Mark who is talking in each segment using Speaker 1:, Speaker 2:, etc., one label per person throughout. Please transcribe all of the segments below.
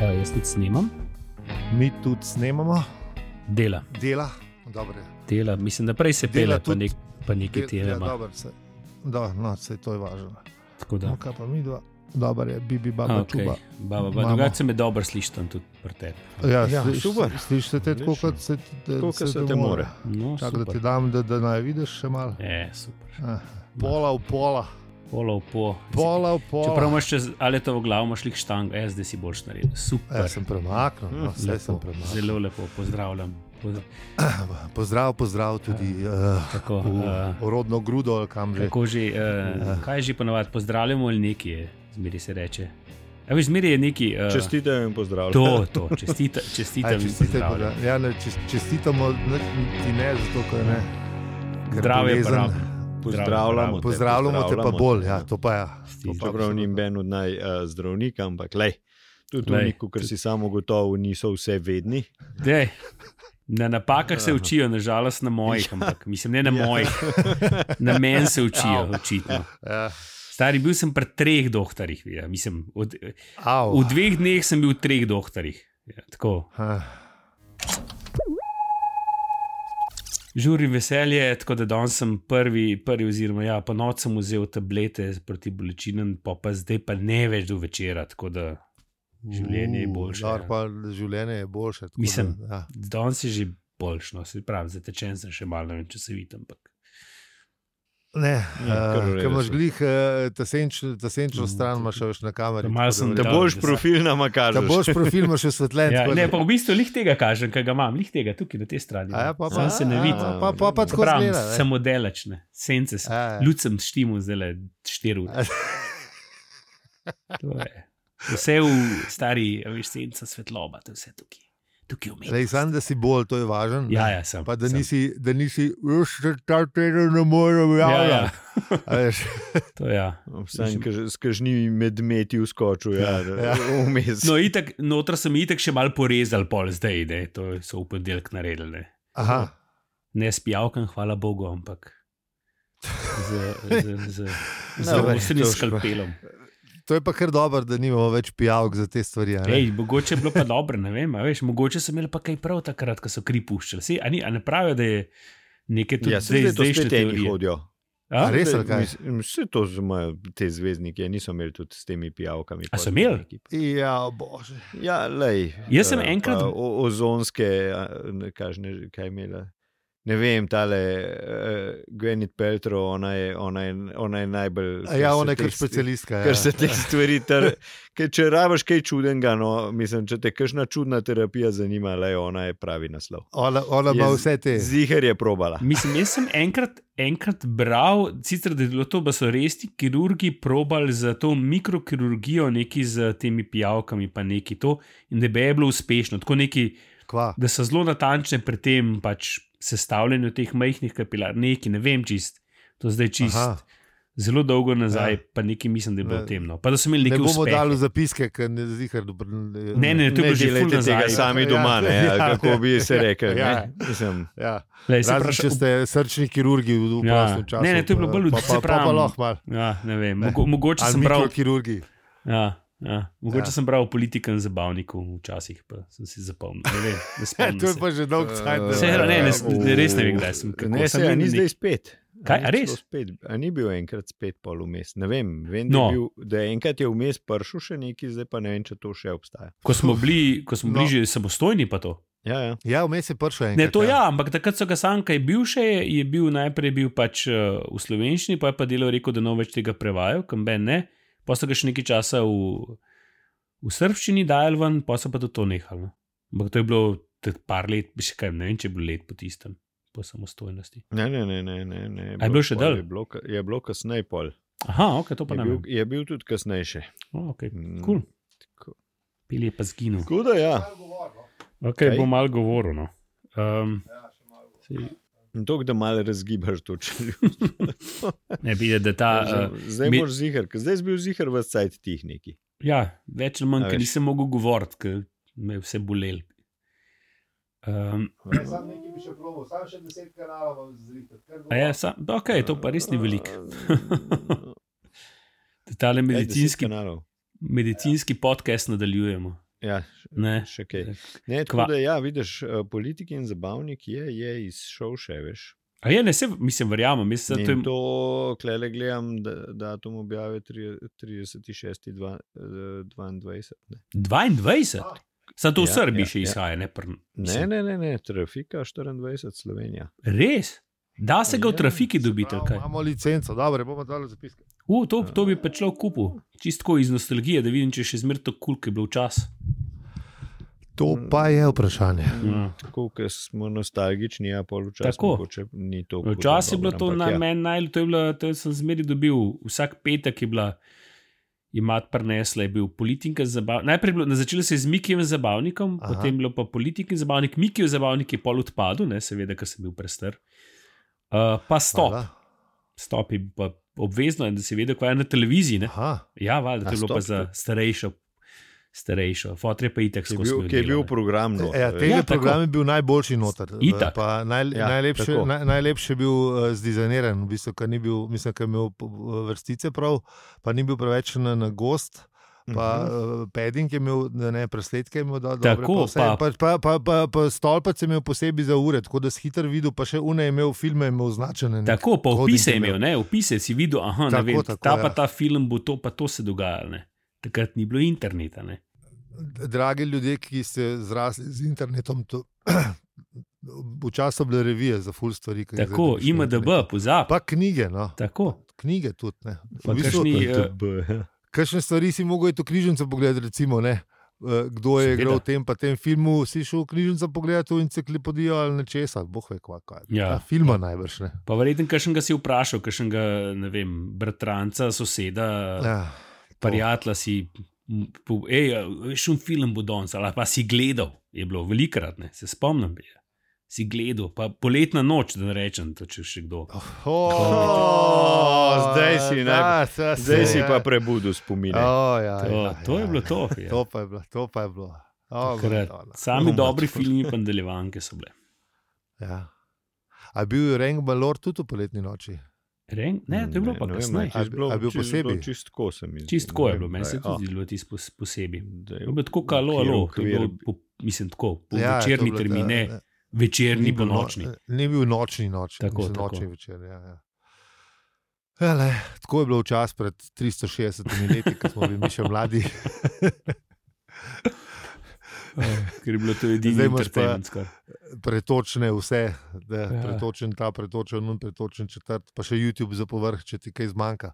Speaker 1: Evo, jaz tudi snemam,
Speaker 2: Mi tudi snemamo,
Speaker 1: dela,
Speaker 2: dela, dobro. je.
Speaker 1: dela. mislim, da prej se
Speaker 2: Dela
Speaker 1: pele, pa,
Speaker 2: tudi-
Speaker 1: nek, pa nekaj
Speaker 2: Del- ja,
Speaker 1: tega.
Speaker 2: dobro, se- Da, no, se to je važno. No,
Speaker 1: Ja,
Speaker 2: kaj pa mi dva, dobro je, bibi, baba, čuba. Imamo.
Speaker 1: Drugače se me dobro sliši tam tudi pri tebi.
Speaker 2: Ja,
Speaker 3: Ja,
Speaker 2: sliš-
Speaker 3: super.
Speaker 2: Slišiš te tako,
Speaker 3: Odlično.
Speaker 2: kot se, ti- da-
Speaker 3: Tako, kot se
Speaker 2: ti
Speaker 3: te more.
Speaker 1: No,
Speaker 2: Čakaj, da
Speaker 1: super.
Speaker 2: ti dam, da, da naj vidiš še malo.
Speaker 1: E, super.
Speaker 2: Eh, Pola v pola,
Speaker 1: Polo v po.
Speaker 2: pola v
Speaker 1: Čeprav
Speaker 2: pola.
Speaker 1: imaš čez aletovo glavo, imaš lik štang, e, zdaj si boš naredil. Super.
Speaker 2: Ja, sem premaknil, no, vse sem
Speaker 1: lepo,
Speaker 2: premaknil.
Speaker 1: zelo lepo, pozdravljam. Pozdrav,
Speaker 2: Pozdrav, pozdrav tudi uh,
Speaker 1: tako, uh,
Speaker 2: v rodno grudo, ali kam že.
Speaker 1: Ja. Kako že, uh,
Speaker 2: Ja.
Speaker 1: kaj že ponovadi pozdravljamo ali nekaj, je, zmeri se reče. A veš, zmeri je neki. Uh,
Speaker 3: Čestite in pozdravljam.
Speaker 1: To, to, čestita, čestitam.
Speaker 2: Aj,
Speaker 1: in
Speaker 2: čestite,
Speaker 1: pozdravljam.
Speaker 2: pozdrav- ja, ne, čest- čestitamo, ne, ti ne, zato ker ne. ker
Speaker 1: Zdravje,
Speaker 2: bolezen-
Speaker 1: prav.
Speaker 3: Pozdravljamo te,
Speaker 2: Pozdravljamo te pa
Speaker 3: pozdravljamo
Speaker 2: bolj,
Speaker 3: te,
Speaker 2: ja,
Speaker 3: ja.
Speaker 2: to pa je.
Speaker 1: Stiži.
Speaker 2: Ja.
Speaker 3: Čeprav ni ben od naj uh, zdravnika, ampak le. Tudi
Speaker 1: Glej,
Speaker 3: oni, ker si samo gotov, niso vse vedni.
Speaker 1: Dej, na napakah
Speaker 3: Ja.
Speaker 1: se učijo, nažalost na mojih, ampak mislim, ne na mojih. Na meni se učijo, očitno.
Speaker 2: Ja.
Speaker 1: Stari bil sem pri treh doktorjih, ja, mislim, od,
Speaker 2: Au.
Speaker 3: Oh.
Speaker 1: v dveh dneh sem bil v treh doktorjih. Ja, tako,
Speaker 2: Ah,
Speaker 1: žuri veselje, tako da danes sem prvi, prvi oziroma ja, pa noč sem vzel tablete proti bolečinam, pa, pa zdaj pa ne več do večera. Tako da Življenje je
Speaker 2: uh,
Speaker 1: boljše,
Speaker 2: dobro,
Speaker 1: ja.
Speaker 2: pa Življenje je boljše. tako
Speaker 1: Mislim.
Speaker 2: da, ja.
Speaker 1: danes je že boljšno, se pravi, zatečen sem še malo, ne vem, če se vidim. Ampak.
Speaker 2: Ne,
Speaker 3: Ja, kar
Speaker 2: eh,
Speaker 3: v redu
Speaker 2: Ker imaš
Speaker 3: so.
Speaker 2: glih, eh, ta senč- ta senčno
Speaker 1: Mm,
Speaker 2: stran imaš še več na kameri.
Speaker 1: Malo
Speaker 2: tako da
Speaker 1: sem
Speaker 2: verjetno-
Speaker 3: Da
Speaker 1: Ja,
Speaker 3: boš
Speaker 1: da se-
Speaker 3: profil na makar.
Speaker 2: Da boš profil imaš osvetljen.
Speaker 1: Ja,
Speaker 2: tako da-
Speaker 1: ne, pa v bistvu lih tega kažem, kaj ga imam, lih tega tukaj na tej strani.
Speaker 2: A ja, pa,
Speaker 1: Sam
Speaker 2: pa,
Speaker 1: se ne
Speaker 2: a,
Speaker 1: vidi.
Speaker 2: Pa, pa, pa, pa tako
Speaker 1: Pravim,
Speaker 2: zgleda, ne.
Speaker 1: samo delačne, sence sem.
Speaker 2: Ja, ja.
Speaker 1: Ljud sem štimu zdaj le štiri ure.
Speaker 2: A,
Speaker 1: To je. Vse v stari, a veš, senca svetloba, to je vse tukaj. Tukaj
Speaker 2: Lej,
Speaker 1: vmes.
Speaker 2: sam, da si bolj, to je važno. ne.
Speaker 1: Ja, ja, sem.
Speaker 2: Pa da
Speaker 1: sem.
Speaker 2: nisi, da nisi, "Jaz se ta teden ne morem
Speaker 1: Ja, ja,
Speaker 2: javljati. A veš,
Speaker 1: to je. Ja.
Speaker 3: Vsaj s kažnimi medmeti vskočil, ja,
Speaker 2: Ja.
Speaker 3: ja. vmes.
Speaker 1: No, itak, notra sem itak še mal porezal, pol zdaj, ne, to so v ponedeljek naredili. Ne,
Speaker 2: Aha.
Speaker 1: ne s pijavkam, hvala Bogu, ampak z, z, z, z, z
Speaker 2: Ne, ne,
Speaker 1: ostrim
Speaker 2: to je
Speaker 1: skalpelom.
Speaker 2: To je pa kar dobro, da nimamo več pijavk za te stvari. a ne.
Speaker 1: Ej, mogoče je bilo pa dobro, ne vem, a veš, mogoče so imeli pa kaj prav takrat, ko so kri puščali. Sej, a, ni, a ne pravijo, da je nekaj tudi
Speaker 3: Ja,
Speaker 1: zdaj,
Speaker 3: zdaj
Speaker 1: zdaj
Speaker 3: to
Speaker 1: še
Speaker 3: spet eni hodijo.
Speaker 2: A res ali kaj?
Speaker 3: Vse to imajo te zvezdnike, niso imeli tudi s temi pijavkami.
Speaker 1: A so imeli?
Speaker 2: Ja, bože.
Speaker 3: Ja, lej.
Speaker 1: Jaz sem
Speaker 3: Eh,
Speaker 1: enkrat-
Speaker 3: pa O, ozonske, eh, ne, kaj, že ne, kaj je imela. Ne vem, tale uh, Gwenit Peltro, ona je, ona je, ona je najbolj.
Speaker 2: A Ja,
Speaker 3: kar se
Speaker 2: ona je kar
Speaker 3: teh-
Speaker 2: specialistka. ja.
Speaker 3: Ker se te stvari, ter, ker če rabiš kaj čudenega, no, mislim, če te kakšna čudna terapija zanima, le ona je pravi naslov.
Speaker 2: Ona, ona ima
Speaker 3: Je z-
Speaker 2: vse te.
Speaker 3: Zihar je probala.
Speaker 1: Mislim, jaz sem enkrat, enkrat bral, sicer da je bilo to, da so resni kirurgi probali za to mikrokirurgijo, neki z temi pijavkami, pa neki to, in da bi je bilo uspešno. Tako neki,
Speaker 2: Kva.
Speaker 1: da so zelo natančne pri tem pač sestavljanju teh majhnih kapilar, neki, ne vem čist, to zdaj čist.
Speaker 2: Aha.
Speaker 1: Aha. Zelo dolgo nazaj, ja.
Speaker 2: Ja.
Speaker 1: pa nekaj mislim, da je bilo
Speaker 2: Ne.
Speaker 1: temno. Pa da so imeli
Speaker 2: Ne
Speaker 1: nekaj
Speaker 2: bomo
Speaker 1: uspehe.
Speaker 2: dali v zapiske, ker ne zihar dobro.
Speaker 1: Ne, ne, to je
Speaker 3: Ne
Speaker 1: bilo že ful
Speaker 3: delajte tega
Speaker 1: nazaj.
Speaker 3: sami
Speaker 2: Ja,
Speaker 3: doma, ne,
Speaker 2: ja,
Speaker 3: ali kako bi se
Speaker 2: ja,
Speaker 3: rekel.
Speaker 2: ja.
Speaker 3: Ja. Mislim,
Speaker 2: Ja.
Speaker 1: Lej, se
Speaker 2: Razen,
Speaker 1: vpraša-
Speaker 2: če ste srčni kirurgi v
Speaker 1: Ja.
Speaker 2: prostem času.
Speaker 1: Ne, ne, to je bilo bolj v-
Speaker 2: pa,
Speaker 1: se
Speaker 2: pa, pa, pa
Speaker 1: pravim.
Speaker 2: lahko malo.
Speaker 1: Ja, ne vem, mogo, mogoče
Speaker 2: Ali
Speaker 1: sem bral.
Speaker 2: mikrokirurgi.
Speaker 1: Ja, ja, mogoče ja.
Speaker 2: Ja.
Speaker 1: sem bral o politikem zabavniku včasih, pa sem si zapomnil. Ne vem, ne
Speaker 2: Ja,
Speaker 1: spomnim
Speaker 2: to je
Speaker 1: se.
Speaker 2: pa že dolg cajt.
Speaker 1: Se, ne, ne,
Speaker 3: Eh,
Speaker 1: ne, res ne vem, kdaj sem, kako
Speaker 3: Ne,
Speaker 1: sem
Speaker 3: se, a
Speaker 1: bil
Speaker 3: ni
Speaker 1: nek-
Speaker 3: zdaj spet. A
Speaker 1: Kaj,
Speaker 3: ni
Speaker 1: a res?
Speaker 3: celo Spet, a ni bil enkrat spet pol vmes. Ne vem, vem da,
Speaker 1: No.
Speaker 3: no. bil, da je enkrat je vmes pršel še neki, zdaj pa ne vem, če to še obstaja.
Speaker 1: Ko smo bili, ko smo bili no.
Speaker 2: No.
Speaker 1: že samostojni, pa to.
Speaker 3: Ja, ja.
Speaker 2: Ja, vmes je prišel en.
Speaker 1: Ne, to ja, ampak takrat so ga sanka je bil še, je bil najprej je bil pač eh, v slovenščini, pa je pa delo rekel, da ne bo več tega prevajal, kamben ne. Pa so ga še nekaj časa v, v srbščini dajali ven, pa so pa do to nehali. no. Ampak to je bilo tudi par let, še kaj ne vem, če je bilo let po tistem, po samostojnosti.
Speaker 3: Ne, ne, ne. ne, ne, ne
Speaker 1: A je bil še
Speaker 3: pol,
Speaker 1: dol?
Speaker 3: Je bilo, ka- je bilo kasneje pol.
Speaker 1: Aha, ok, to
Speaker 3: Je
Speaker 1: pa ne
Speaker 3: bil,
Speaker 1: vem.
Speaker 3: je bil tudi kasnejši.
Speaker 1: Oh, okay.
Speaker 3: Mm,
Speaker 1: Kul.
Speaker 3: tako.
Speaker 1: Pil je pa zginil.
Speaker 3: Tako da ja.
Speaker 1: Okay,
Speaker 3: Kaj?
Speaker 1: bom malo govoril. No. Um, saj-
Speaker 3: In to, da malo razgibaš to čelo.
Speaker 1: ne bi da ta. Uh,
Speaker 3: Zdaj
Speaker 1: mi-
Speaker 3: moraš zihar, ker zdaj si bil zihar v cajt tehniki.
Speaker 1: ja, več ali manj,
Speaker 3: A
Speaker 1: ker
Speaker 3: veš.
Speaker 1: nisem mogel govoriti, ker me je vse bolel. Um,
Speaker 2: Sam nekaj bi še proval, sam še deset kanalov zrite.
Speaker 1: a ja, sam, ok, to pa res ni veliko. Ta
Speaker 3: Medicinski
Speaker 1: medicinski,
Speaker 3: kanal.
Speaker 1: medicinski podcast nadaljujemo.
Speaker 3: Ja, š-
Speaker 1: Ne.
Speaker 3: še kaj. Ne, tako
Speaker 1: Kva-
Speaker 3: da, ja, vidiš, eh, politik in zabavnik je, je izšel še več.
Speaker 1: A je, ne, se, mislim, verjamem, jaz se
Speaker 3: In
Speaker 1: to jim.
Speaker 3: to, klele gledam, da, datum objave tri- eh, 36.22.
Speaker 1: 22, samo to v
Speaker 3: Ja,
Speaker 1: Srbiji
Speaker 3: ja,
Speaker 1: še
Speaker 3: ja.
Speaker 1: izhaja, ne pr.
Speaker 3: Ne, ne, ne, ne, trafika 24 Slovenija.
Speaker 1: Res. Da se ga v
Speaker 3: Ja,
Speaker 1: trafiki dobiti, ali kaj.
Speaker 2: Imamo licenco, dobro, bomo dali zapiske.
Speaker 1: U, to, to bi pa človek kupil, čistko iz nostalgije, da vidim, če je še zmeraj to kul, ki je bil čas.
Speaker 2: To pa je vprašanje.
Speaker 1: Ja.
Speaker 3: Tako, ker smo nostalgični, ja, polučasno.
Speaker 1: Tako.
Speaker 3: Mogoče ni to.
Speaker 1: Včasih je
Speaker 3: podobno,
Speaker 1: bilo to
Speaker 3: ampak
Speaker 1: na
Speaker 3: ja.
Speaker 1: meni najbolj, to, je bila, to sem zmeri dobil, vsak petek je bila. Je mat prenesla, je bil politik in zabavnik. Najprej je bilo- začelo se je z Mikijem in zabavnikom, Aha.
Speaker 2: Aha.
Speaker 1: potem je bilo pa politik in zabavnik. Mikijev zabavnik je pol odpadel, ne, seveda, ker sem bil prestar. Uh, pa stop,
Speaker 2: Hvala.
Speaker 1: stop je pa obvezno, je, da se vede, kaj je na televiziji. Ne.
Speaker 2: Aha,
Speaker 1: Ja, valjda, to
Speaker 3: A
Speaker 1: je bilo pa
Speaker 3: Ah, stop
Speaker 1: za
Speaker 3: tudi?
Speaker 1: starejšo, starejšo. fotre pa itek
Speaker 3: Ki je
Speaker 1: skozi.
Speaker 3: bil, ki je bil program. No,
Speaker 2: ja, tega
Speaker 1: Ja,
Speaker 2: ja,
Speaker 1: tako.
Speaker 2: program je bil najboljši noter. eh,
Speaker 1: Itak.
Speaker 2: Pa Naj,
Speaker 3: Ja,
Speaker 2: ja, najlepše,
Speaker 3: tako.
Speaker 2: naj, najlepše je bil uh, zdizajniran, v bistvu, ker ni bil, mislim, ker je imel eh, vrstice prav, pa ni bil preveč na, na gost. Pa
Speaker 1: Mhm.
Speaker 3: Mhm.
Speaker 2: uh, peding je imel, da ne, presledke je imel, da
Speaker 1: Tako,
Speaker 2: pa, pa, pa, pa, pa, pa stolpec je imel posebej za ure, tako da si hiter videl, pa še une je imel filme, je imel označene. nek
Speaker 1: Tako, pa
Speaker 2: coding
Speaker 1: opise je
Speaker 2: je
Speaker 1: imel, ne, opise si videl, aha, tako,
Speaker 2: Hm. Tako,
Speaker 1: vem, tako,
Speaker 2: tako,
Speaker 1: ta ja. pa
Speaker 2: ja.
Speaker 1: ta film bo to, pa to se dogajalo. ne. Takrat ni bilo interneta.
Speaker 2: Ja,
Speaker 1: Ne.
Speaker 2: dragi ljudje, ki ste zrasli z internetom, to, včasih so bile revije za full stvari. ki jih zdaj
Speaker 1: Tako,
Speaker 2: dobiš na
Speaker 1: IMDB,
Speaker 2: internetu.
Speaker 1: pozabi.
Speaker 2: Pa knjige, no.
Speaker 1: Tako.
Speaker 2: knjige tudi. Ne.
Speaker 1: Pa
Speaker 2: V bistvu,
Speaker 1: kakšni- eh,
Speaker 3: To je B, ja.
Speaker 2: kakšne stvari si mogel iti v knjižnico pogledati, recimo, ne. Eh, Kdo je
Speaker 1: Seveda.
Speaker 2: igral v tem, pa tem filmu, si šel v knjižnico pogledati v enciklopedijo ali nečesa, boh ve, kva, kaj.
Speaker 1: Ja.
Speaker 2: Filma najbrž ne.
Speaker 1: Pa verjetno, kakšen ga si vprašal, kakšen ga, ne vem, bratranca, soseda, ja,
Speaker 2: Ja,
Speaker 1: prijatelja si. m, po- Ej, a veš, un film bo danes, ali pa si gledal, je bilo velikrat, ne, se spomnim. Je. Si gledal, pa poletna noč, da ne rečem, to, če še kdo.
Speaker 2: Oh,
Speaker 3: zdaj si naj-
Speaker 2: se,
Speaker 3: Zdaj si pa prebudil spomine.
Speaker 2: Oh, ja,
Speaker 1: To,
Speaker 2: ja,
Speaker 1: to je
Speaker 2: ja.
Speaker 1: bilo to. je.
Speaker 2: To pa je bilo, to pa je bilo. O,
Speaker 1: Takrat.
Speaker 2: Madonna.
Speaker 1: Sami
Speaker 2: O,
Speaker 1: dobri
Speaker 2: Madonna.
Speaker 1: filmi, pa nadaljevanke so bile.
Speaker 2: Ja. A je bil je Reng Balor tudi v poletni noči?
Speaker 1: Ren? Ne, to je bilo pa
Speaker 3: ne vem,
Speaker 1: kasneje.
Speaker 3: čisto
Speaker 2: A je bil-
Speaker 3: bilo-
Speaker 2: a je bil
Speaker 3: čisto
Speaker 2: posebej?
Speaker 3: bilo Čisto tako se mi zdi.
Speaker 1: Čist tako
Speaker 3: ne
Speaker 1: je bilo,
Speaker 3: vem,
Speaker 1: meni se je
Speaker 3: kaj, a,
Speaker 1: tudi zdelo tisto pos- posebej.
Speaker 3: da je
Speaker 1: To je bilo No, tako, kalo,
Speaker 3: okvir-
Speaker 1: alo, to je
Speaker 3: okvir
Speaker 1: bilo,
Speaker 3: bi-
Speaker 1: po, mislim, tako, po
Speaker 2: Ja,
Speaker 1: ja,
Speaker 2: je to
Speaker 1: večerni
Speaker 2: bilo,
Speaker 1: termin,
Speaker 2: da,
Speaker 1: ne,
Speaker 2: da.
Speaker 1: večerni, po
Speaker 2: bil no-
Speaker 1: nočni.
Speaker 2: Ni bil nočni noč,
Speaker 1: Tako,
Speaker 2: tako, mislim,
Speaker 1: tako.
Speaker 2: tako. nočni večer. Ja, ja. Ele, tako je bilo včasih pred 360 leti, ko smo bili mi še mladi.
Speaker 1: Ker je bilo to edini
Speaker 2: Zdaj imaš pa-
Speaker 1: entertainment skoraj.
Speaker 2: Pretočne vse, da,
Speaker 1: Ja.
Speaker 2: ja. pretočen ta, pretočen un, pretočen četrt, pa še YouTube za povrh, če ti kaj zmanjka.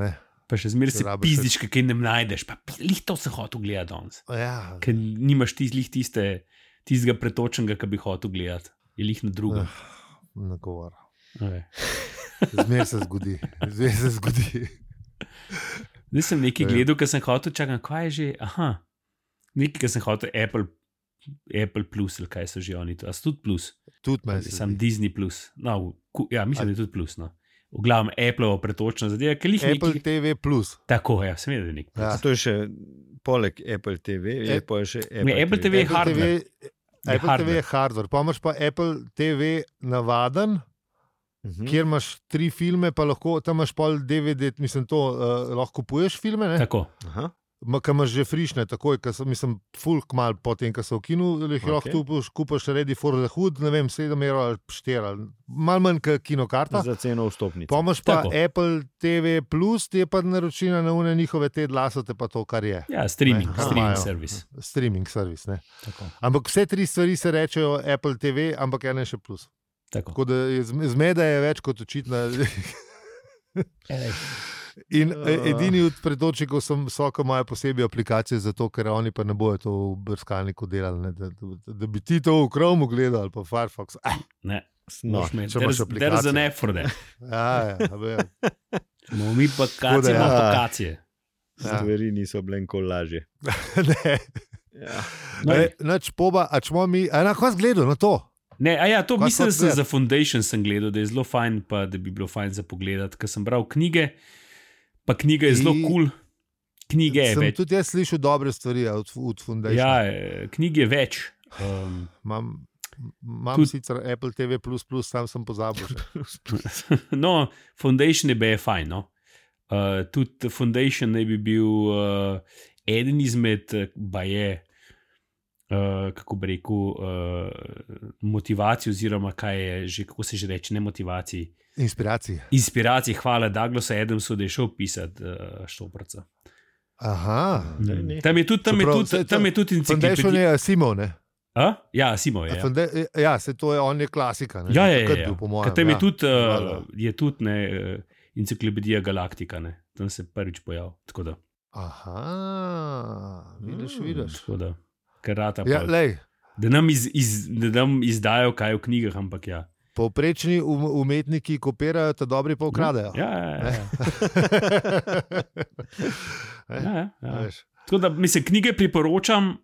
Speaker 2: Ne.
Speaker 1: Pa še zmeraj se
Speaker 2: Rabiš še-
Speaker 1: pizdiš, kaj ne najdeš, pa pi- lih to se hotel gledati danes.
Speaker 2: Ja,
Speaker 1: Ker nimaš ti, lih tiste, tistega pretočenega, ki bi hotel gledati. Je lih na drugo.
Speaker 2: Ah. na govor.
Speaker 1: Okay.
Speaker 2: Zmer se zgodi, zmer se zgodi.
Speaker 1: Zdaj sem nekaj
Speaker 2: Ja.
Speaker 1: gledal, ker sem hotel, čakam, kaj je že. Aha, nekaj, ker sem hotel, Apple, Apple Plus ali kaj so že oni, to je tudi Plus,
Speaker 2: Tudi meni
Speaker 1: ali
Speaker 2: se
Speaker 1: sam
Speaker 2: zdi.
Speaker 1: Disney Plus. No, ku, ja, mislim, da je tudi Plus. No. V glavnem Apple pretočna zadeva, ker jih
Speaker 2: Apple
Speaker 1: nekaj.
Speaker 2: TV. Plus.
Speaker 1: Tako, ja, seveda je nek.
Speaker 2: Ja.
Speaker 3: A to je še poleg Apple TV, je
Speaker 2: E-
Speaker 3: pa še
Speaker 1: Ne, Apple TV je
Speaker 2: Apple
Speaker 1: hardware.
Speaker 2: TV, Apple
Speaker 1: hardware.
Speaker 2: TV je hardware, pa imaš pa Apple TV navaden,
Speaker 3: Mhm.
Speaker 2: kjer imaš tri filme, pa lahko tam imaš pol DVD, mislim, to uh, lahko kupuješ filme. Ne?
Speaker 1: Tako,
Speaker 3: Aha.
Speaker 2: Ma, Ki imaš že frišne, takoj, ki so, mislim, fulk mal potem, ko so ukinuli, jih
Speaker 3: Okej.
Speaker 2: okay. lahko kupiš, kupiš Ready for the Hood, ne vem, 7 evrov ali 4, ali mal manj kot kinokarta.
Speaker 3: Za ceno vstopnice.
Speaker 2: Pomaž pa
Speaker 1: Tako.
Speaker 2: Apple TV, plus ti je pa naročina na une njihove te glasate, pa to, kar je.
Speaker 1: ja, streaming,
Speaker 2: Aha.
Speaker 1: streaming
Speaker 2: Imajo. Hm.
Speaker 1: servis.
Speaker 2: Streaming servis. Ne?
Speaker 1: Tako.
Speaker 2: Ampak vse tri stvari se rečejo Apple TV, ampak ena je še plus.
Speaker 1: Tako.
Speaker 2: Tako da je zme- zmeda je več kot očitna.
Speaker 1: E,
Speaker 2: In e, edini od predočnikov sem, so, ki imajo posebej aplikacije za to, ker oni pa ne bojo to v brskalniku delali. Ne, da, da, da bi ti to v Chromu gledal ali pa Firefox. Ah,
Speaker 1: Ne,
Speaker 3: No,
Speaker 1: moraš imeti-
Speaker 2: če imaš
Speaker 1: there's-
Speaker 2: aplikacijo.
Speaker 1: There's an effort. there.
Speaker 2: ja, ja, a veš.
Speaker 1: Bomo Mi pa
Speaker 2: Tako da,
Speaker 1: kacije,
Speaker 2: ja.
Speaker 1: aplikacije.
Speaker 2: Ja.
Speaker 3: Stvari niso bile nikoli lažje.
Speaker 2: Ne.
Speaker 3: Ja.
Speaker 1: No,
Speaker 2: E, Nač poba, a čmo mi, enako jaz gledam na to.
Speaker 1: Ne, a ja, to
Speaker 2: Kaj
Speaker 1: mislim, da
Speaker 2: pa
Speaker 1: sem
Speaker 2: svet?
Speaker 1: za Foundation sem gledal, da je zelo fajn, pa da bi bilo fajn za pogled, ker sem bral knjige, pa knjiga je zelo
Speaker 2: Ki-
Speaker 1: kul, cool. knjige je
Speaker 2: Sem
Speaker 1: več.
Speaker 2: tudi jaz slišal dobre stvari ja, od, od Fundacije.
Speaker 1: Ja, eh, knjig je več. Um,
Speaker 2: Imam, imam
Speaker 1: Tudi-
Speaker 2: Tud... sicer Apple TV, sam sem pozabil. še.
Speaker 1: no, Foundation je bil fajn. No? Uh, tudi Foundation naj bi bil uh, eden izmed, eh, baje, uh, kako bi rekel, uh, motivacij, oziroma kaj je že, kako se že reče, ne motivacij,
Speaker 2: Inspiracije.
Speaker 1: inspiracij. Hvala Douglasu Adamsu, da je šel pisati uh, Štoprca.
Speaker 2: Aha.
Speaker 3: Daj, ne.
Speaker 1: Tam je tudi, tam je
Speaker 2: Čeprav,
Speaker 1: tudi,
Speaker 2: saj to-
Speaker 1: tam je tudi
Speaker 2: Foundation
Speaker 1: enciklopedija.
Speaker 2: je Simon. ne?
Speaker 1: A? Ja, Simo je.
Speaker 2: A
Speaker 1: Ja.
Speaker 2: Founda- Ja, se to je, on je klasika. ne?
Speaker 1: Ja, ja, ja,
Speaker 2: Takrat
Speaker 1: ja.
Speaker 2: bil, po mojem,
Speaker 1: Ker tam je
Speaker 2: ja.
Speaker 1: tudi, uh,
Speaker 2: Hvala.
Speaker 1: je tudi ne, eh, enciklopedija Galaktika, ne. tam se je prvič pojavil. Tako da,
Speaker 2: Aha, vidiš,
Speaker 3: Mm,
Speaker 2: vidiš.
Speaker 1: tako da Pač, ker rata.
Speaker 2: Ja,
Speaker 1: pol.
Speaker 2: lej,
Speaker 1: da, nam iz, iz, da nam izdajo, kaj je v knjigah, ampak ja.
Speaker 2: povprečni um- umetniki kopirajo, ta dobri pa ukradajo.
Speaker 1: Ja, ja, ja, ja.
Speaker 2: Ne?
Speaker 1: ja, ja, ja.
Speaker 2: Veš.
Speaker 1: Tako da mi se knjige priporočam,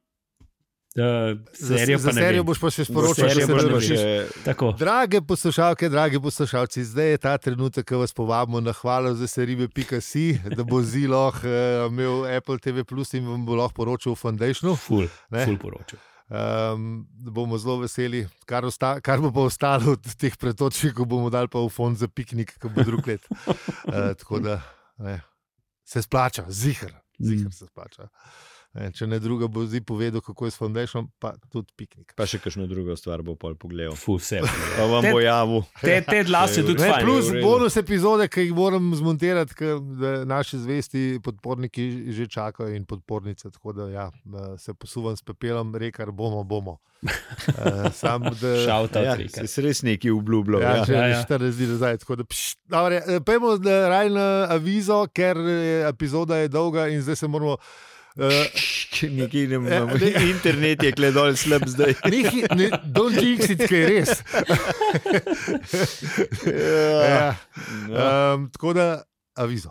Speaker 1: da
Speaker 2: Za,
Speaker 1: serijo
Speaker 2: za
Speaker 1: pa ne
Speaker 2: serijo
Speaker 1: vem.
Speaker 2: boš pa še
Speaker 1: Za
Speaker 2: sporočil, če
Speaker 1: serijo
Speaker 2: se
Speaker 1: boš
Speaker 2: ne
Speaker 1: pa
Speaker 2: rošiš.
Speaker 1: Tako.
Speaker 2: Drage poslušalke, dragi poslušalci, zdaj je ta trenutek, ko vas povabimo na hvalo za seribe.si, da bo zilo eh, imel Apple TV Plus in vam bo lahko poročal o Foundationu.
Speaker 1: Ful,
Speaker 2: no. Ne.
Speaker 1: ful poročam.
Speaker 2: Um, bomo zelo veseli, kar, osta, kar bo pa ostalo od teh pretočnikov, bomo dali pa v fond za piknik, ki bo drug let. Uh, tako da ne, se splača, zihar,
Speaker 3: Mm.
Speaker 2: zihar se splača. Ne, če ne druga, bo zdaj povedal, kako je s Foundationom, pa tudi piknik.
Speaker 3: Pa še kakšno drugo stvar bo pol pogledal.
Speaker 1: Ful, Ja, vse.
Speaker 3: Pa vam
Speaker 1: Te-
Speaker 3: bo javil.
Speaker 1: Te, te glas je tudi
Speaker 2: Ne,
Speaker 1: fajn.
Speaker 2: plus
Speaker 3: je v redu.
Speaker 2: bonus epizode, ki jih moram zmontirati, ker da naši zvesti podporniki že čakajo in podpornice. Tako da ja, eh, se posuvam s pepelom, rekar bomo, bomo. Uh, sam, da,
Speaker 1: Šauta,
Speaker 3: Ja,
Speaker 1: ja, trika.
Speaker 3: si res neki obljubljal.
Speaker 2: Ja,
Speaker 3: Ja,
Speaker 2: že
Speaker 1: Ja, ja.
Speaker 2: 40 dni nazaj. tako da, pšt, dobro je. Eh, Pojdimo eh, raje na avizo, ker eh, epizoda je dolga in zdaj se moramo. Uh,
Speaker 3: Nekaj ne
Speaker 2: Ja,
Speaker 3: moremo.
Speaker 2: ne.
Speaker 3: Internet je gledal slab zdaj.
Speaker 2: Nehi, ne, don't jinx it, kaj je res.
Speaker 3: Ja,
Speaker 2: Ja,
Speaker 3: no.
Speaker 2: um, tako da, avizo.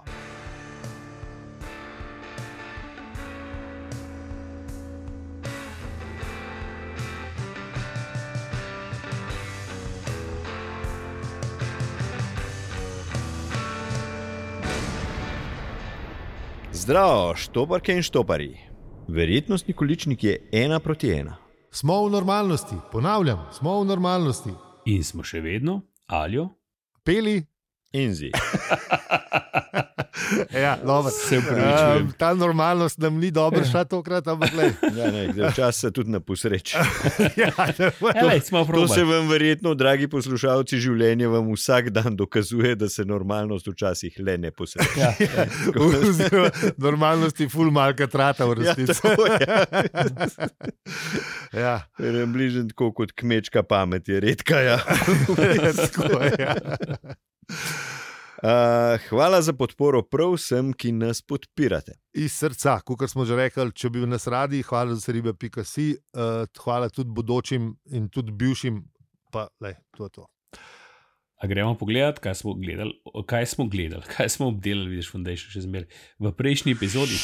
Speaker 3: Zdravo, štoparke in štoparji. Verjetnostni količnik je ena proti ena.
Speaker 2: Smo v normalnosti, ponavljam, smo v normalnosti.
Speaker 1: In smo še vedno, alijo,
Speaker 2: Peli,
Speaker 3: Enzi.
Speaker 2: ja, dobro.
Speaker 1: Se upravičujem.
Speaker 2: Em, ta normalnost nam ni dobra šla tokrat, ampak le.
Speaker 3: Ja, ne, včasih se tudi na posreč.
Speaker 2: Ja, ne,
Speaker 1: Elej, smo
Speaker 3: To se
Speaker 1: probali.
Speaker 3: vam verjetno, dragi poslušalci, življenje vam vsak dan dokazuje, da se normalnost včasih le ne posreče.
Speaker 1: Ja.
Speaker 2: Oziroma, normalnosti ful malka trata v
Speaker 3: Ja,
Speaker 2: resnici.
Speaker 3: tako je.
Speaker 2: Ja.
Speaker 3: Ker je Bližen tako kot kmečka pamet, je redka. Ja.
Speaker 2: Tako je. Ja.
Speaker 3: Uh, hvala za podporo prav vsem, ki nas podpirate.
Speaker 2: Iz srca, kot smo že rekli, če bi nas radi, hvala za ribe.si, uh, hvala tudi bodočim in tudi bivšim, pa le to je to.
Speaker 1: A gremo pogledat, kaj smo gledali, kaj smo gledali, kaj smo obdelali, vidiš, Foundation še zmeraj. V prejšnji epizodi.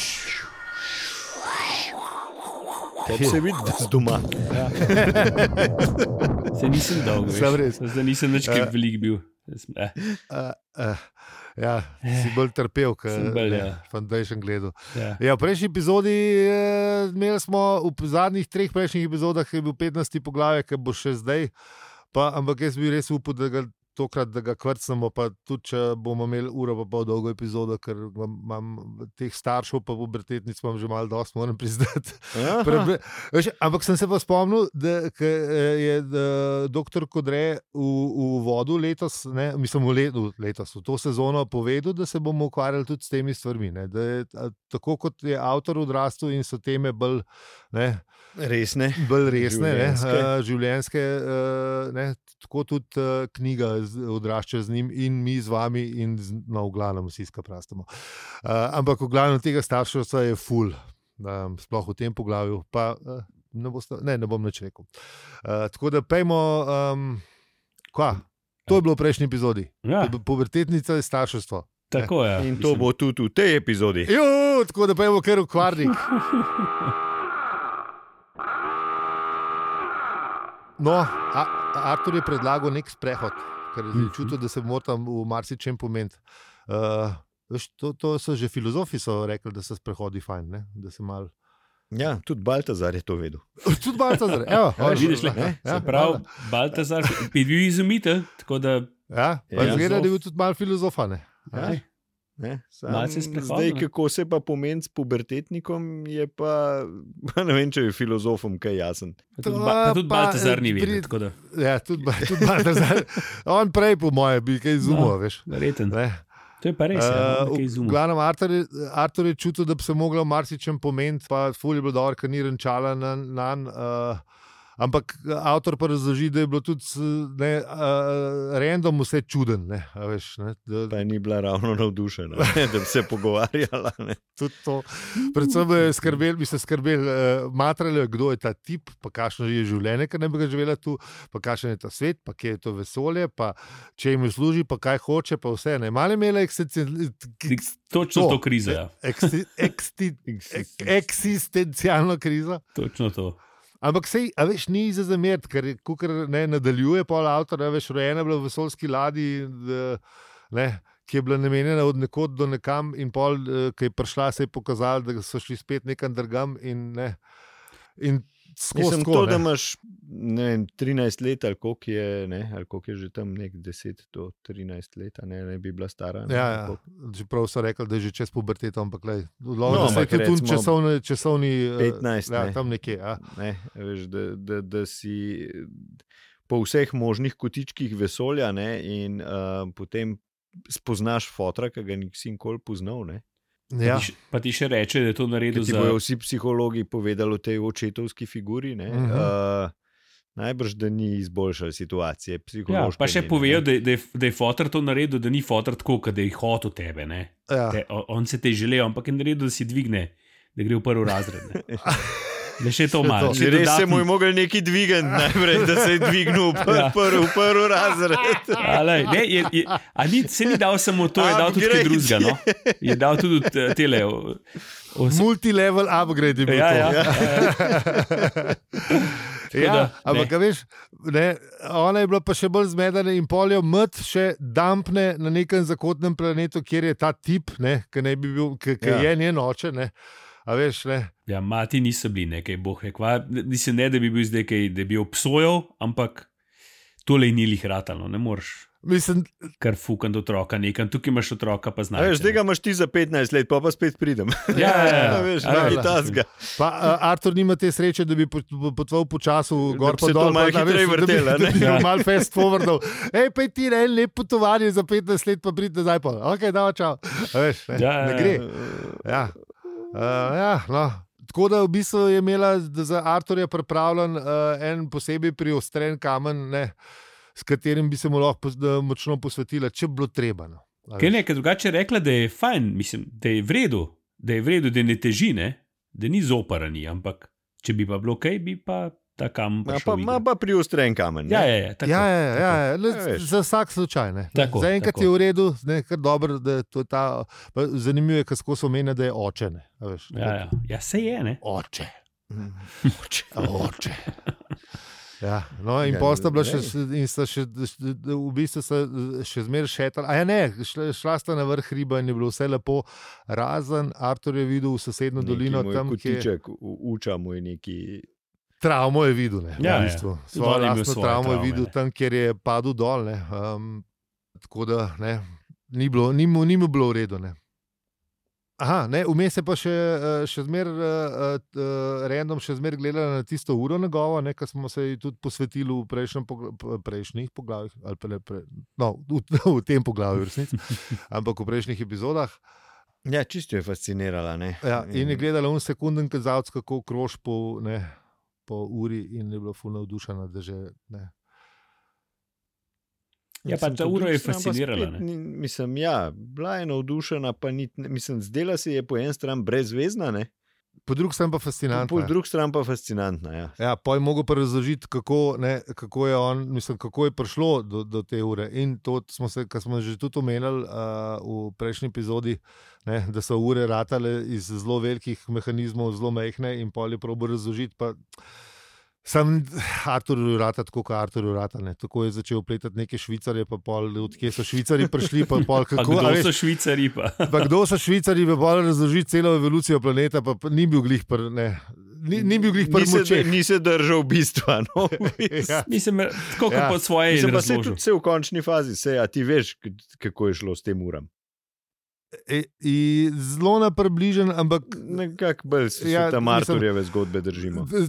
Speaker 3: Tebi se vidi, da si doma.
Speaker 1: Se nisem dolgo. veš.
Speaker 2: Sam res. Ja.
Speaker 1: Zdaj nisem več kaj velik bil. Jaz sem- eh.
Speaker 2: Uh, uh, ja, si bolj trpel,
Speaker 1: Sem bolj,
Speaker 2: kot
Speaker 1: ja.
Speaker 2: Foundation gledal.
Speaker 1: Ja.
Speaker 2: Ja, v prejšnji epizodi eh, imeli smo, v zadnjih treh prejšnjih epizodah je bil 15. poglavje, ki bo še zdaj. Pa, ampak jaz bi res upal, da ga tokrat da ga kvrcamo, pa tudi če bomo imeli uro pa pol dolgo epizodo, ker imam, imam teh staršev, pa pubertetnic imam že malo dosti, moram priznati. Prebre, veš, ampak sem se pa spomnil, da ke, eh, je doktor Kodre v, v vodu letos, ne, mislim, v letu, letos, v to sezono povedal, da se bomo ukvarjali tudi s temi stvarmi. Ne, da je, a, tako kot je avtor odrastel in so teme bolj, ne,
Speaker 3: Res ne.
Speaker 2: bolj resne, ne,
Speaker 3: Življenjske.
Speaker 2: eh, življenjske, eh, ne, tako tudi eh, knjiga z- odrašča z njim in mi z vami in z, no, v glavnem vsi skaprastamo. Uh, ampak v glavnem tega starševstva je ful, um, sploh v tem poglavju. Pa, uh, ne, boste, ne, ne bom nič rekel. Uh, tako da pejmo, um, kva. To je bilo v prejšnji epizodi.
Speaker 1: Ja,
Speaker 2: Pu- Pubertetnica je starševstvo.
Speaker 1: tako ja. je.
Speaker 3: In to bo tudi v tej epizodi.
Speaker 2: Jo, tako da pojmo kar v kvarnik. No, a, Artur je predlagal nek sprehod, ker je
Speaker 1: Mhm.
Speaker 2: čutil, da se moram v marsičem pomeniti. Uh, veš, to, to so že filozofi so rekli, da se sprehodi fajn, ne? da se malo.
Speaker 3: Ja, tudi Baltazar je to vedel.
Speaker 2: Tudi malce zre. Evo,
Speaker 3: Ja,
Speaker 2: on-
Speaker 1: vidiš, le,
Speaker 2: ne?
Speaker 1: Se
Speaker 2: Ja,
Speaker 1: pravi,
Speaker 2: hvala.
Speaker 1: Baltazar je bil izumitelj, tako da
Speaker 2: Ja, pa
Speaker 3: Ja.
Speaker 2: zgleda, da je bil tudi malo filozofan.
Speaker 3: Ja. Ne? Sam,
Speaker 1: Malce sprehodno.
Speaker 3: zdaj, kako se pa pomeni s pubertetnikom, je pa, pa ne vem, če je filozofom kaj jasen.
Speaker 1: Pa Tudi,
Speaker 2: To
Speaker 1: ba, pa tudi
Speaker 2: pa,
Speaker 1: Baltazar ni
Speaker 2: eh,
Speaker 1: videl.
Speaker 2: pri-
Speaker 1: tako da,
Speaker 2: Ja, tudi, ba- tudi Baltazar. On prej, po mojem, bi kaj izumil,
Speaker 1: No.
Speaker 2: veš.
Speaker 1: Verjeten.
Speaker 2: Ne?
Speaker 1: To je pa res, uh, nekaj
Speaker 2: Eh, v
Speaker 1: izumov.
Speaker 2: glavnem, Artur je- Artur je čutil, da bi se mogla v marsičem pomeniti, pa fulje bilo dobro, ker ni renčala na nan. Uh, ampak eh, avtor pa razloži, da je bilo tudi s- ne, uh, random vse čuden. Ne, a veš, ne, da,
Speaker 3: Pa ni bila ravno navdušena, ne, da bi se pogovarjala. Ne.
Speaker 2: tudi to. Predvsem bi, skrbel, bi se skrbeli, uh, matrali, kdo je ta tip, pa kakšno je življenje, ker ne bi ga živela tu, pa kakšen je ta svet, pa kje je to vesolje, pa če jim služi, pa kaj hoče, pa vse. Ne. Mali imela eksistenci-
Speaker 1: Točno to,
Speaker 2: to,
Speaker 1: to krizo. Ja.
Speaker 2: eksi- eksi-
Speaker 3: E,
Speaker 2: Ek- eksistencialno krizo.
Speaker 1: Točno to.
Speaker 2: Ampak sej, a veš, ni za zameriti, ker kukar ne nadaljuje pol avtor, a veš, rojena je bila v vesoljski ladji, d- ne, ki je bila namenjena od nekod do nekam in pol, eh, ki je prišla, se je pokazala, da so šli spet nekam drugam in ne. In skozi
Speaker 3: Mislim, to,
Speaker 2: tako, ne.
Speaker 3: da imaš ne vem, 13 let, ali koliko je, ne, ali koliko je že tam nek 10 do 13 let, a ne, ne bi bila stara. Ne,
Speaker 2: Ja,
Speaker 3: ali
Speaker 2: ja.
Speaker 3: koliko.
Speaker 2: Čeprav so rekli, da je že čez puberteto, ampak le,
Speaker 3: No,
Speaker 2: no, se je
Speaker 3: ampak
Speaker 2: tudi un
Speaker 3: recimo
Speaker 2: časovni, časovni eh,
Speaker 3: 15,
Speaker 2: ja,
Speaker 3: ne.
Speaker 2: tam nekje. Ja.
Speaker 3: Ne, veš, da, da, da si po vseh možnih kotičkih vesolja ne, in uh, potem spoznaš fotra, ki ga nisi nikoli poznal. Ne.
Speaker 1: Ja.
Speaker 2: Ja.
Speaker 1: Ti, še- pa ti še reče, da je to
Speaker 3: Ker
Speaker 1: naredil
Speaker 3: ti
Speaker 1: za
Speaker 3: bojo vsi psihologi povedali o tej očetovski figuri. Ne, uh
Speaker 2: Mhm.
Speaker 3: -huh. uh, najbrž, da ni izboljšal situacije.
Speaker 1: Ja,
Speaker 3: psihološke
Speaker 1: pa še
Speaker 3: njene,
Speaker 1: povejo,
Speaker 3: ne.
Speaker 1: da, je- da, je- da je Fotor to naredil, da ni Fotor tako, kot da je hotel tebe. ne.
Speaker 2: Ja.
Speaker 1: Te, o- on se te je želel, ampak je naredil, da si dvigne, da gre v prvi razred. ne. Da še to
Speaker 2: Še
Speaker 1: malo.
Speaker 2: to.
Speaker 1: še
Speaker 3: Res se
Speaker 1: dodaten-
Speaker 3: mu je mogel neki dvigati, najprej, da se je dvignil v prvi,
Speaker 1: Ja.
Speaker 3: ja. prvi, prvi razred.
Speaker 1: A, lej, ne, je, je, a ni, se ni dal samo to, je dal tudi kaj
Speaker 3: Upgrade.
Speaker 1: drugega. No? Je dal tudi eh, tele. o- o-
Speaker 2: Multilevel upgrade je bil.
Speaker 1: Ja,
Speaker 2: to.
Speaker 1: ja, ja. Tako da,
Speaker 2: Ja, ampak,
Speaker 1: ne.
Speaker 2: a veš, ne, ona je bila pa še bolj zmedena in poljo mrt, še dampne na nekem zakotnem planetu, kjer je ta tip, ne, ki naj bi bil, ki, ki
Speaker 3: Ja.
Speaker 2: je njen oče. Ne. A veš, ne.
Speaker 1: Ja, mati niso bili nekaj, boh je kva. Mislim, ne, da bi bil zdaj kaj, da bi obsojal, ampak tole ni lih ratalo, ne moreš.
Speaker 2: Mislim,
Speaker 1: Kar fukan do otroka, nekam tukaj imaš otroka, pa
Speaker 3: A
Speaker 1: znaš.
Speaker 3: Veš, zdaj ga imaš ti za 15 let, pa pa spet pridem.
Speaker 1: Ja, ja, ja,
Speaker 3: Ja,
Speaker 1: ja.
Speaker 3: veš,
Speaker 1: A,
Speaker 2: da,
Speaker 3: nekaj
Speaker 2: da.
Speaker 3: tasga.
Speaker 2: pa a, Artur nima te sreče, da bi pot- po- potoval po času, gor
Speaker 3: bi
Speaker 2: pa
Speaker 3: se to
Speaker 2: dol,
Speaker 3: malo
Speaker 2: pa, a
Speaker 3: hitreje
Speaker 2: veš, da bi,
Speaker 3: vrtelo,
Speaker 2: da
Speaker 3: ne.
Speaker 2: bi
Speaker 1: Ja.
Speaker 2: ja. malo fast forwardal. Ej, pa ti ne, lep potovanje za 15 let, pa prid nazaj pol. Ok, da, čau. A Veš, ne,
Speaker 1: Ja, ja,
Speaker 2: ne
Speaker 1: ja.
Speaker 2: gre. Ja. Uh, ja, no. Tako da v bistvu je imela z- za Arturja pripravljen uh, en posebej priostren kamen, ne, s katerim bi se mu lahko pos- da močno posvetila, če bi bilo treba. No. A
Speaker 1: Ker
Speaker 2: veš.
Speaker 1: ne, ker drugače je rekla, da je fajn, mislim, da je vredu, da je vredu, da ne teži, ne? da ni zoparani, ampak če bi pa bilo kaj, bi pa ta kam
Speaker 3: Ma
Speaker 1: prišel
Speaker 3: pa,
Speaker 1: v igro.
Speaker 3: ma pa priostren kamen.
Speaker 1: Ja,
Speaker 3: ne?
Speaker 1: ja, ja, tako,
Speaker 2: Ja, ja, ja,
Speaker 1: tako.
Speaker 2: ja, le,
Speaker 3: Ja, veš.
Speaker 2: za vsak slučaj. Ne.
Speaker 1: Tako,
Speaker 2: za enkrat
Speaker 1: tako.
Speaker 2: je v redu, ne, kar dobro, da je to ta. pa Zanimivo je, kako skozi omenja, da je oče. Ne, a veš,
Speaker 1: Ja, ja. ja, se je, ne.
Speaker 2: Oče.
Speaker 3: Oče.
Speaker 2: A Oče. Mm. Ja, no, in
Speaker 3: Ja,
Speaker 2: pol sta bila še,
Speaker 3: glej.
Speaker 2: in sta še, v bistvu sta eh, še zmeraj šetala. A ja, ne, šla, šla sta na vrh riba in je bilo vse lepo, razen Artur je videl v sosednjo
Speaker 3: Neki
Speaker 2: dolino,
Speaker 3: moj
Speaker 2: tam je
Speaker 3: Kotiček, u- uča mu je neki.
Speaker 2: travmo je videl. Ne,
Speaker 1: Ja,
Speaker 2: v bistvu.
Speaker 1: ja. Tudi
Speaker 2: Svojo
Speaker 1: on je imel
Speaker 2: lastno
Speaker 1: svoje
Speaker 2: travmo je
Speaker 1: travme, ja.
Speaker 2: videl
Speaker 1: ne.
Speaker 2: tam, kjer je padel dol. Ne, um, tako da ne, ni, bilo, ni, mu, ni mu bilo v redu. Ne. Aha, ne, vmes je pa še, eh, še zmeraj, random, še zmeraj gledala na tisto uro njegovo, ne, ki smo se ji tudi posvetili v prejšnjem pogla- p- prejšnjih poglavjih, ali pa ne, pre, no, v, v tem poglavju, v resnici, ampak v prejšnjih epizodah.
Speaker 3: Ja, čisto je fascinirala. Ne? Mm.
Speaker 2: Ja, in je gledala un sekunden kazalec, kako krož po, ne, po uri, in je bila fulno navdušena, da že ne.
Speaker 1: Ja, pa
Speaker 3: Mislim,
Speaker 1: ta
Speaker 3: po
Speaker 1: uro je
Speaker 3: drugi strani pa
Speaker 1: fascinirala, ne.
Speaker 3: spet ni- Mislim, ja, bila je navdušena, pa ni, mislim, zdela se je po eni strani brezvezna, ne?
Speaker 2: Po drugi strani pa
Speaker 3: po,
Speaker 2: fascinantna.
Speaker 3: po
Speaker 2: ja.
Speaker 3: drugi strani pa fascinantna. Ja.
Speaker 2: Ja, pa je mogel pa razložiti, kako, ne, kako, je on, mislim, kako je prišlo do, do te ure. In to smo, se, kar smo že tudi omenjali uh, v prejšnji epizodi, ne, da so ure ratale iz zelo velikih mehanizmov, zelo mehke in pol je probo razložiti. Pa, Sam Artur rata, tako kot Artur rata. Ne. Tako je začel pletati neke švicarje, pa pol, odkje so švicari prišli, pa pol,
Speaker 1: Pa
Speaker 2: kako a
Speaker 1: kdo
Speaker 2: veš,
Speaker 1: so švicari, pa.
Speaker 2: Pa kdo so švicari, bi bolj razložil celo evolucijo planeta, pa pa ni bil glih pr, ne, ni, ni bil glih
Speaker 3: Ni
Speaker 2: prvi
Speaker 3: se-
Speaker 2: moče.
Speaker 3: Ni se držal bistva. No, v bistvu.
Speaker 2: Ja.
Speaker 1: Mislim, tako kot
Speaker 2: Ja.
Speaker 1: ja. po svoje je
Speaker 3: Mislim, pa se
Speaker 1: razložil.
Speaker 3: tudi vse v končni fazi, se, a ti veš, k- kako je šlo s tem uram.
Speaker 2: E, e, zelo na približen, ampak
Speaker 3: Nekako bolj se
Speaker 2: Ja,
Speaker 3: ja,
Speaker 2: mislim-
Speaker 3: tam Marturjeve zgodbe držimo.
Speaker 2: d- d-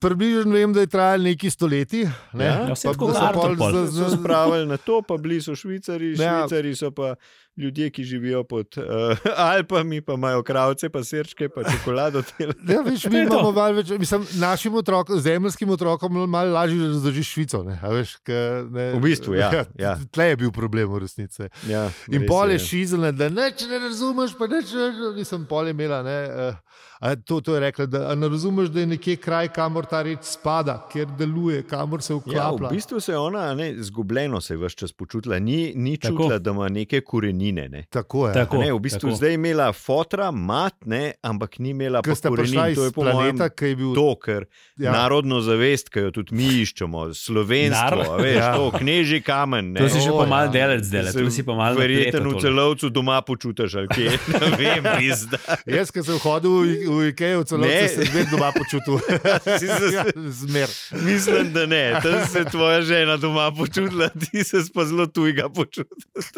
Speaker 2: približen vem, da je trajal nekaj stoletij. Ne?
Speaker 3: Ja,
Speaker 1: ja, vse
Speaker 2: Pa
Speaker 1: tako
Speaker 2: da
Speaker 1: kot
Speaker 2: so
Speaker 1: Artur
Speaker 2: pol
Speaker 1: pol.
Speaker 2: za-
Speaker 3: So
Speaker 2: za-
Speaker 3: spravili na to, pa bili so Švicari,
Speaker 2: Ja.
Speaker 3: Švicari so pa ljudje, ki živijo pod uh, Alpami, pa imajo kravce, pa srčke, pa čokolado. delati.
Speaker 2: Ja, viš,
Speaker 1: To
Speaker 2: mi
Speaker 1: je to.
Speaker 2: imamo malo več, mislim, našim otrokom, zemljskim otrokom, malo lažje razložiš Švico. Ne, a veš, ka, ne,
Speaker 3: V bistvu, ja, ja.
Speaker 2: Tle je bil problem v resnici.
Speaker 3: Ja,
Speaker 2: In
Speaker 3: res
Speaker 2: pol je šizelna, da neč ne razumeš, pa neč ne razumeš. Nisem pol imela, ne, eh, a to, to je rekla, da a ne razumeš, da je nekje kraj, kamor ta reč spada, kjer deluje, kamor se
Speaker 3: Ja, v
Speaker 2: uklaplja.
Speaker 3: bistvu se je ona, a ne, zgubljeno se je vse čas počutila, ni, ni
Speaker 1: Tako.
Speaker 3: čutila, da ima neke korenine. Ne.
Speaker 2: Tako je.
Speaker 1: Tako,
Speaker 3: A ne, v bistvu
Speaker 1: tako.
Speaker 3: zdaj je imela fotra, mat, ne, ampak ni imela
Speaker 2: Ker sta prišla
Speaker 3: korenin.
Speaker 2: iz
Speaker 3: To je po mojem
Speaker 2: planeta, ki je bil
Speaker 3: to, ker ja.
Speaker 2: Ja.
Speaker 3: narodno zavest, ki jo tudi mi iščemo, slovensko,
Speaker 1: Narod-
Speaker 3: Nar veš,
Speaker 2: Ja.
Speaker 3: ja. to kneži kamen. Ne.
Speaker 1: To si še
Speaker 2: O,
Speaker 1: pa
Speaker 2: ja.
Speaker 1: malo delec dela,
Speaker 3: Se
Speaker 1: to si pa malo
Speaker 3: Verjeten v
Speaker 1: napleta tole.
Speaker 3: celovcu doma počutiš, ali kje. Ne vem, pizda.
Speaker 2: Jaz, ki sem hodil v- v Ikejo, celo
Speaker 3: Ne.
Speaker 2: sem se vedno doma počutil.
Speaker 3: Si se-
Speaker 2: ja, zmer.
Speaker 3: Mislim, da ne. Tam se je tvoja žena doma počutila, ti se pa zelo tujega počutiš.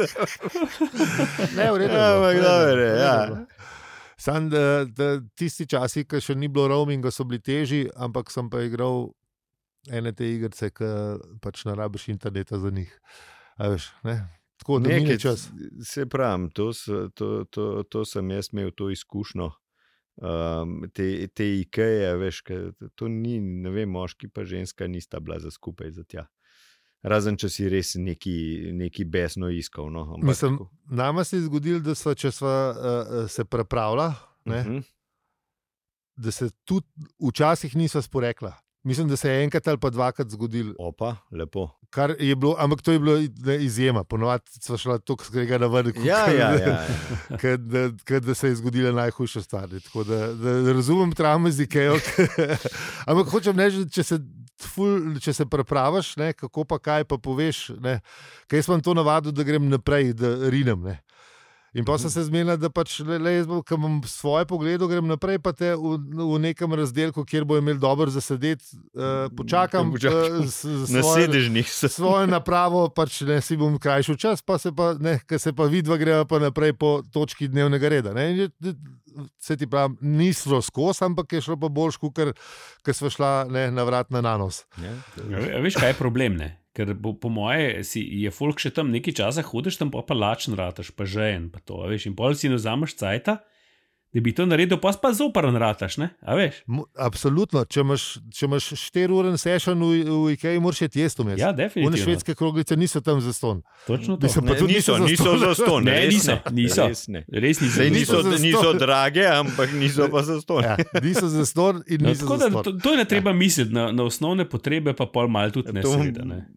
Speaker 2: Ne, v redu. je
Speaker 3: Ja,
Speaker 2: bilo, v redu
Speaker 3: ampak
Speaker 2: je
Speaker 3: dobro
Speaker 2: bilo,
Speaker 3: je,
Speaker 2: v redu
Speaker 3: ja.
Speaker 2: je bilo. Sam da, da tisti časi, ki še ni bilo roaminga, so bili težji, ampak sem pa igral ene te igrice, ki pač ne rabiš interneta za njih. A Veš, ne? Tako da
Speaker 3: Nekaj
Speaker 2: je čas.
Speaker 3: Se pravi, to, s- to, to, to sem jaz imel, to izkušnjo. Um, te, te IKEA, veš, ke to ni, ne vem, moški pa ženska nista bila za skupaj za tja. Razen, če si res neki, neki besno iskal. No, ampak
Speaker 2: Mislim,
Speaker 3: tako.
Speaker 2: nama se je zgodilo, da so, če sva, uh, se prepravila, ne,
Speaker 3: Mhm.
Speaker 2: da se tudi včasih nisva sporekla. Mislim, da se je enkrat ali pa dvakrat zgodil,
Speaker 3: Opa, lepo.
Speaker 2: kar je bilo, ampak to je bilo ne, izjema. Ponovadi smo šli tako skrega na vrh.
Speaker 3: Ja, ja, ja, ja.
Speaker 2: Ker da, ker da se je zgodila najhujša stvar. ne. Tako Da, da, da razumem travme z Ikejo. Ampak hočem reči, da če se, ful, če se prepraviš, ne, kako pa kaj pa poveš. Ne, ker jaz imam to navado, da grem naprej, da rinem. Ne. In pa sem se zmenila, da pač le, le jaz, bom- ko imam svoje poglede, grem naprej, pa te v, v nekem razdelku, kjer bo imel dobro zasedeti, uh, počakam,
Speaker 3: Počakam.
Speaker 2: eh, s- s
Speaker 3: Na
Speaker 2: svojo-
Speaker 3: sedežnih se
Speaker 2: svojo napravo, pač ne si bom krajšal čas, pa se pa, ne, ker se pa vidva greva pa naprej po točki dnevnega reda. Ne. In je- Se ti pravi, ni šlo skozi, ampak je šlo pa bolj škukar, ker smo šla ne, na vrat na nanos.
Speaker 1: Ja, ve- Veš, kaj je problem? Ne? Ker bo, po moje si, je folk še tam nekaj časa, hodiš tam pol pa lačen, rataš pa že en, pa to, a veš, in pol si ne vzameš cajt, da bi to naredil, pa si pa zoprn rataš, ne, a veš.
Speaker 2: Mo- Absolutno, če imaš, če imaš 4-uren session v, v Ikeji, moraš jeti jesti vmes.
Speaker 1: Ja,
Speaker 2: One
Speaker 1: definitivno.
Speaker 2: švedske kroglice niso tam za ston.
Speaker 1: Točno to. Mislim,
Speaker 2: Mislim, pa
Speaker 3: Ne,
Speaker 2: tudi
Speaker 3: niso,
Speaker 2: niso
Speaker 3: niso
Speaker 2: zastonj.
Speaker 3: za ston.
Speaker 1: Ne,
Speaker 3: res
Speaker 1: niso, niso.
Speaker 3: Res ne.
Speaker 1: Res nisem.
Speaker 3: Sej,
Speaker 2: niso
Speaker 3: niso,
Speaker 2: zastonj.
Speaker 3: niso drage, ampak niso pa za ston.
Speaker 2: Ja, niso za ston in
Speaker 1: No,
Speaker 2: niso
Speaker 1: tako
Speaker 2: za Ja.
Speaker 1: da
Speaker 2: ston.
Speaker 1: to, to je ne treba misliti, na, na osnovne potrebe pa pol malo tudi ne,
Speaker 3: To-
Speaker 1: seveda. Ne.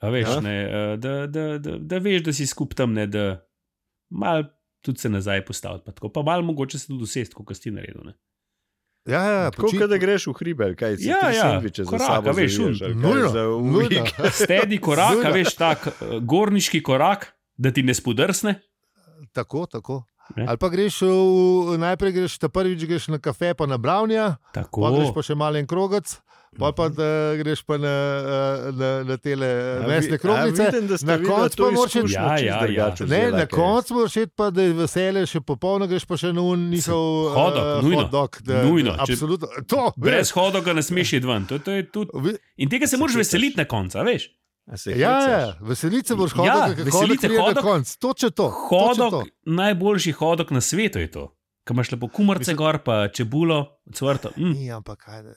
Speaker 1: A veš,
Speaker 3: Ja.
Speaker 1: ja. ne, eh, da, da, da, da veš, da si skup tam, ne, da malo tudi se nazaj postaviti, pa, tako, pa malo mogoče se tudi usesti, kot si ti naredil. Ne.
Speaker 2: Ja, ja,
Speaker 3: Tako
Speaker 2: počit-
Speaker 3: kot da greš v hribe, ali kaj si
Speaker 1: Ja,
Speaker 3: ja,
Speaker 1: ja,
Speaker 3: ja, sendviče za
Speaker 1: korak,
Speaker 3: sabo,
Speaker 1: a veš,
Speaker 3: zaviješ,
Speaker 1: un-
Speaker 3: ali kaj,
Speaker 2: Nujno,
Speaker 3: za v
Speaker 2: nujno.
Speaker 3: vikend.
Speaker 1: Stedi korak, a
Speaker 2: Zelo.
Speaker 1: veš, tak eh, gorniški korak, da ti ne spodrsne.
Speaker 2: Tako, tako.
Speaker 1: Ne?
Speaker 2: Ali pa greš v, najprej greš, ta prvič greš na kafe, pa na Brownja,
Speaker 1: Tako.
Speaker 2: Pol greš pa še malen krogec, pol
Speaker 1: Mhm.
Speaker 2: pa da greš pa na, eh, na, na tele
Speaker 3: A vi-
Speaker 2: mesne kroglice.
Speaker 3: a vidim, da sta
Speaker 2: na
Speaker 3: videla
Speaker 2: koncu
Speaker 3: to
Speaker 2: pa moraš iti-
Speaker 3: izkušnjo
Speaker 1: Ja,
Speaker 3: čisto
Speaker 1: ja,
Speaker 3: drugače
Speaker 1: ja.
Speaker 2: Ne,
Speaker 3: vzela,
Speaker 2: na
Speaker 3: kaj.
Speaker 2: koncu moraš šeti, pa da je veselje še popolno, greš pa še na un njihov
Speaker 1: Hodok,
Speaker 2: eh,
Speaker 1: nujno.
Speaker 2: hotdog, da-
Speaker 1: Nujno, če-
Speaker 2: Absolutno. To,
Speaker 1: Brez hodoga ne smeš iti ven. To, to je tudi...
Speaker 2: Vi-
Speaker 1: In tega se
Speaker 3: Se
Speaker 1: moraš
Speaker 3: hecaš.
Speaker 1: veseliti na koncu, a veš.
Speaker 3: A se
Speaker 2: Ja, ja,
Speaker 3: hecaš?
Speaker 2: veselice boš
Speaker 1: Ja,
Speaker 2: hodil, ja, hodil
Speaker 1: veselice,
Speaker 2: prije na
Speaker 1: hodok.
Speaker 2: konc. Točno to. točno to.
Speaker 1: Hodok, najboljši hodok na svetu je to. Kaj imaš lepo kumarce
Speaker 2: Mislim-
Speaker 1: gor, pa čebulo, cvrto. Mm.
Speaker 2: Ni, ampak kaj, eh,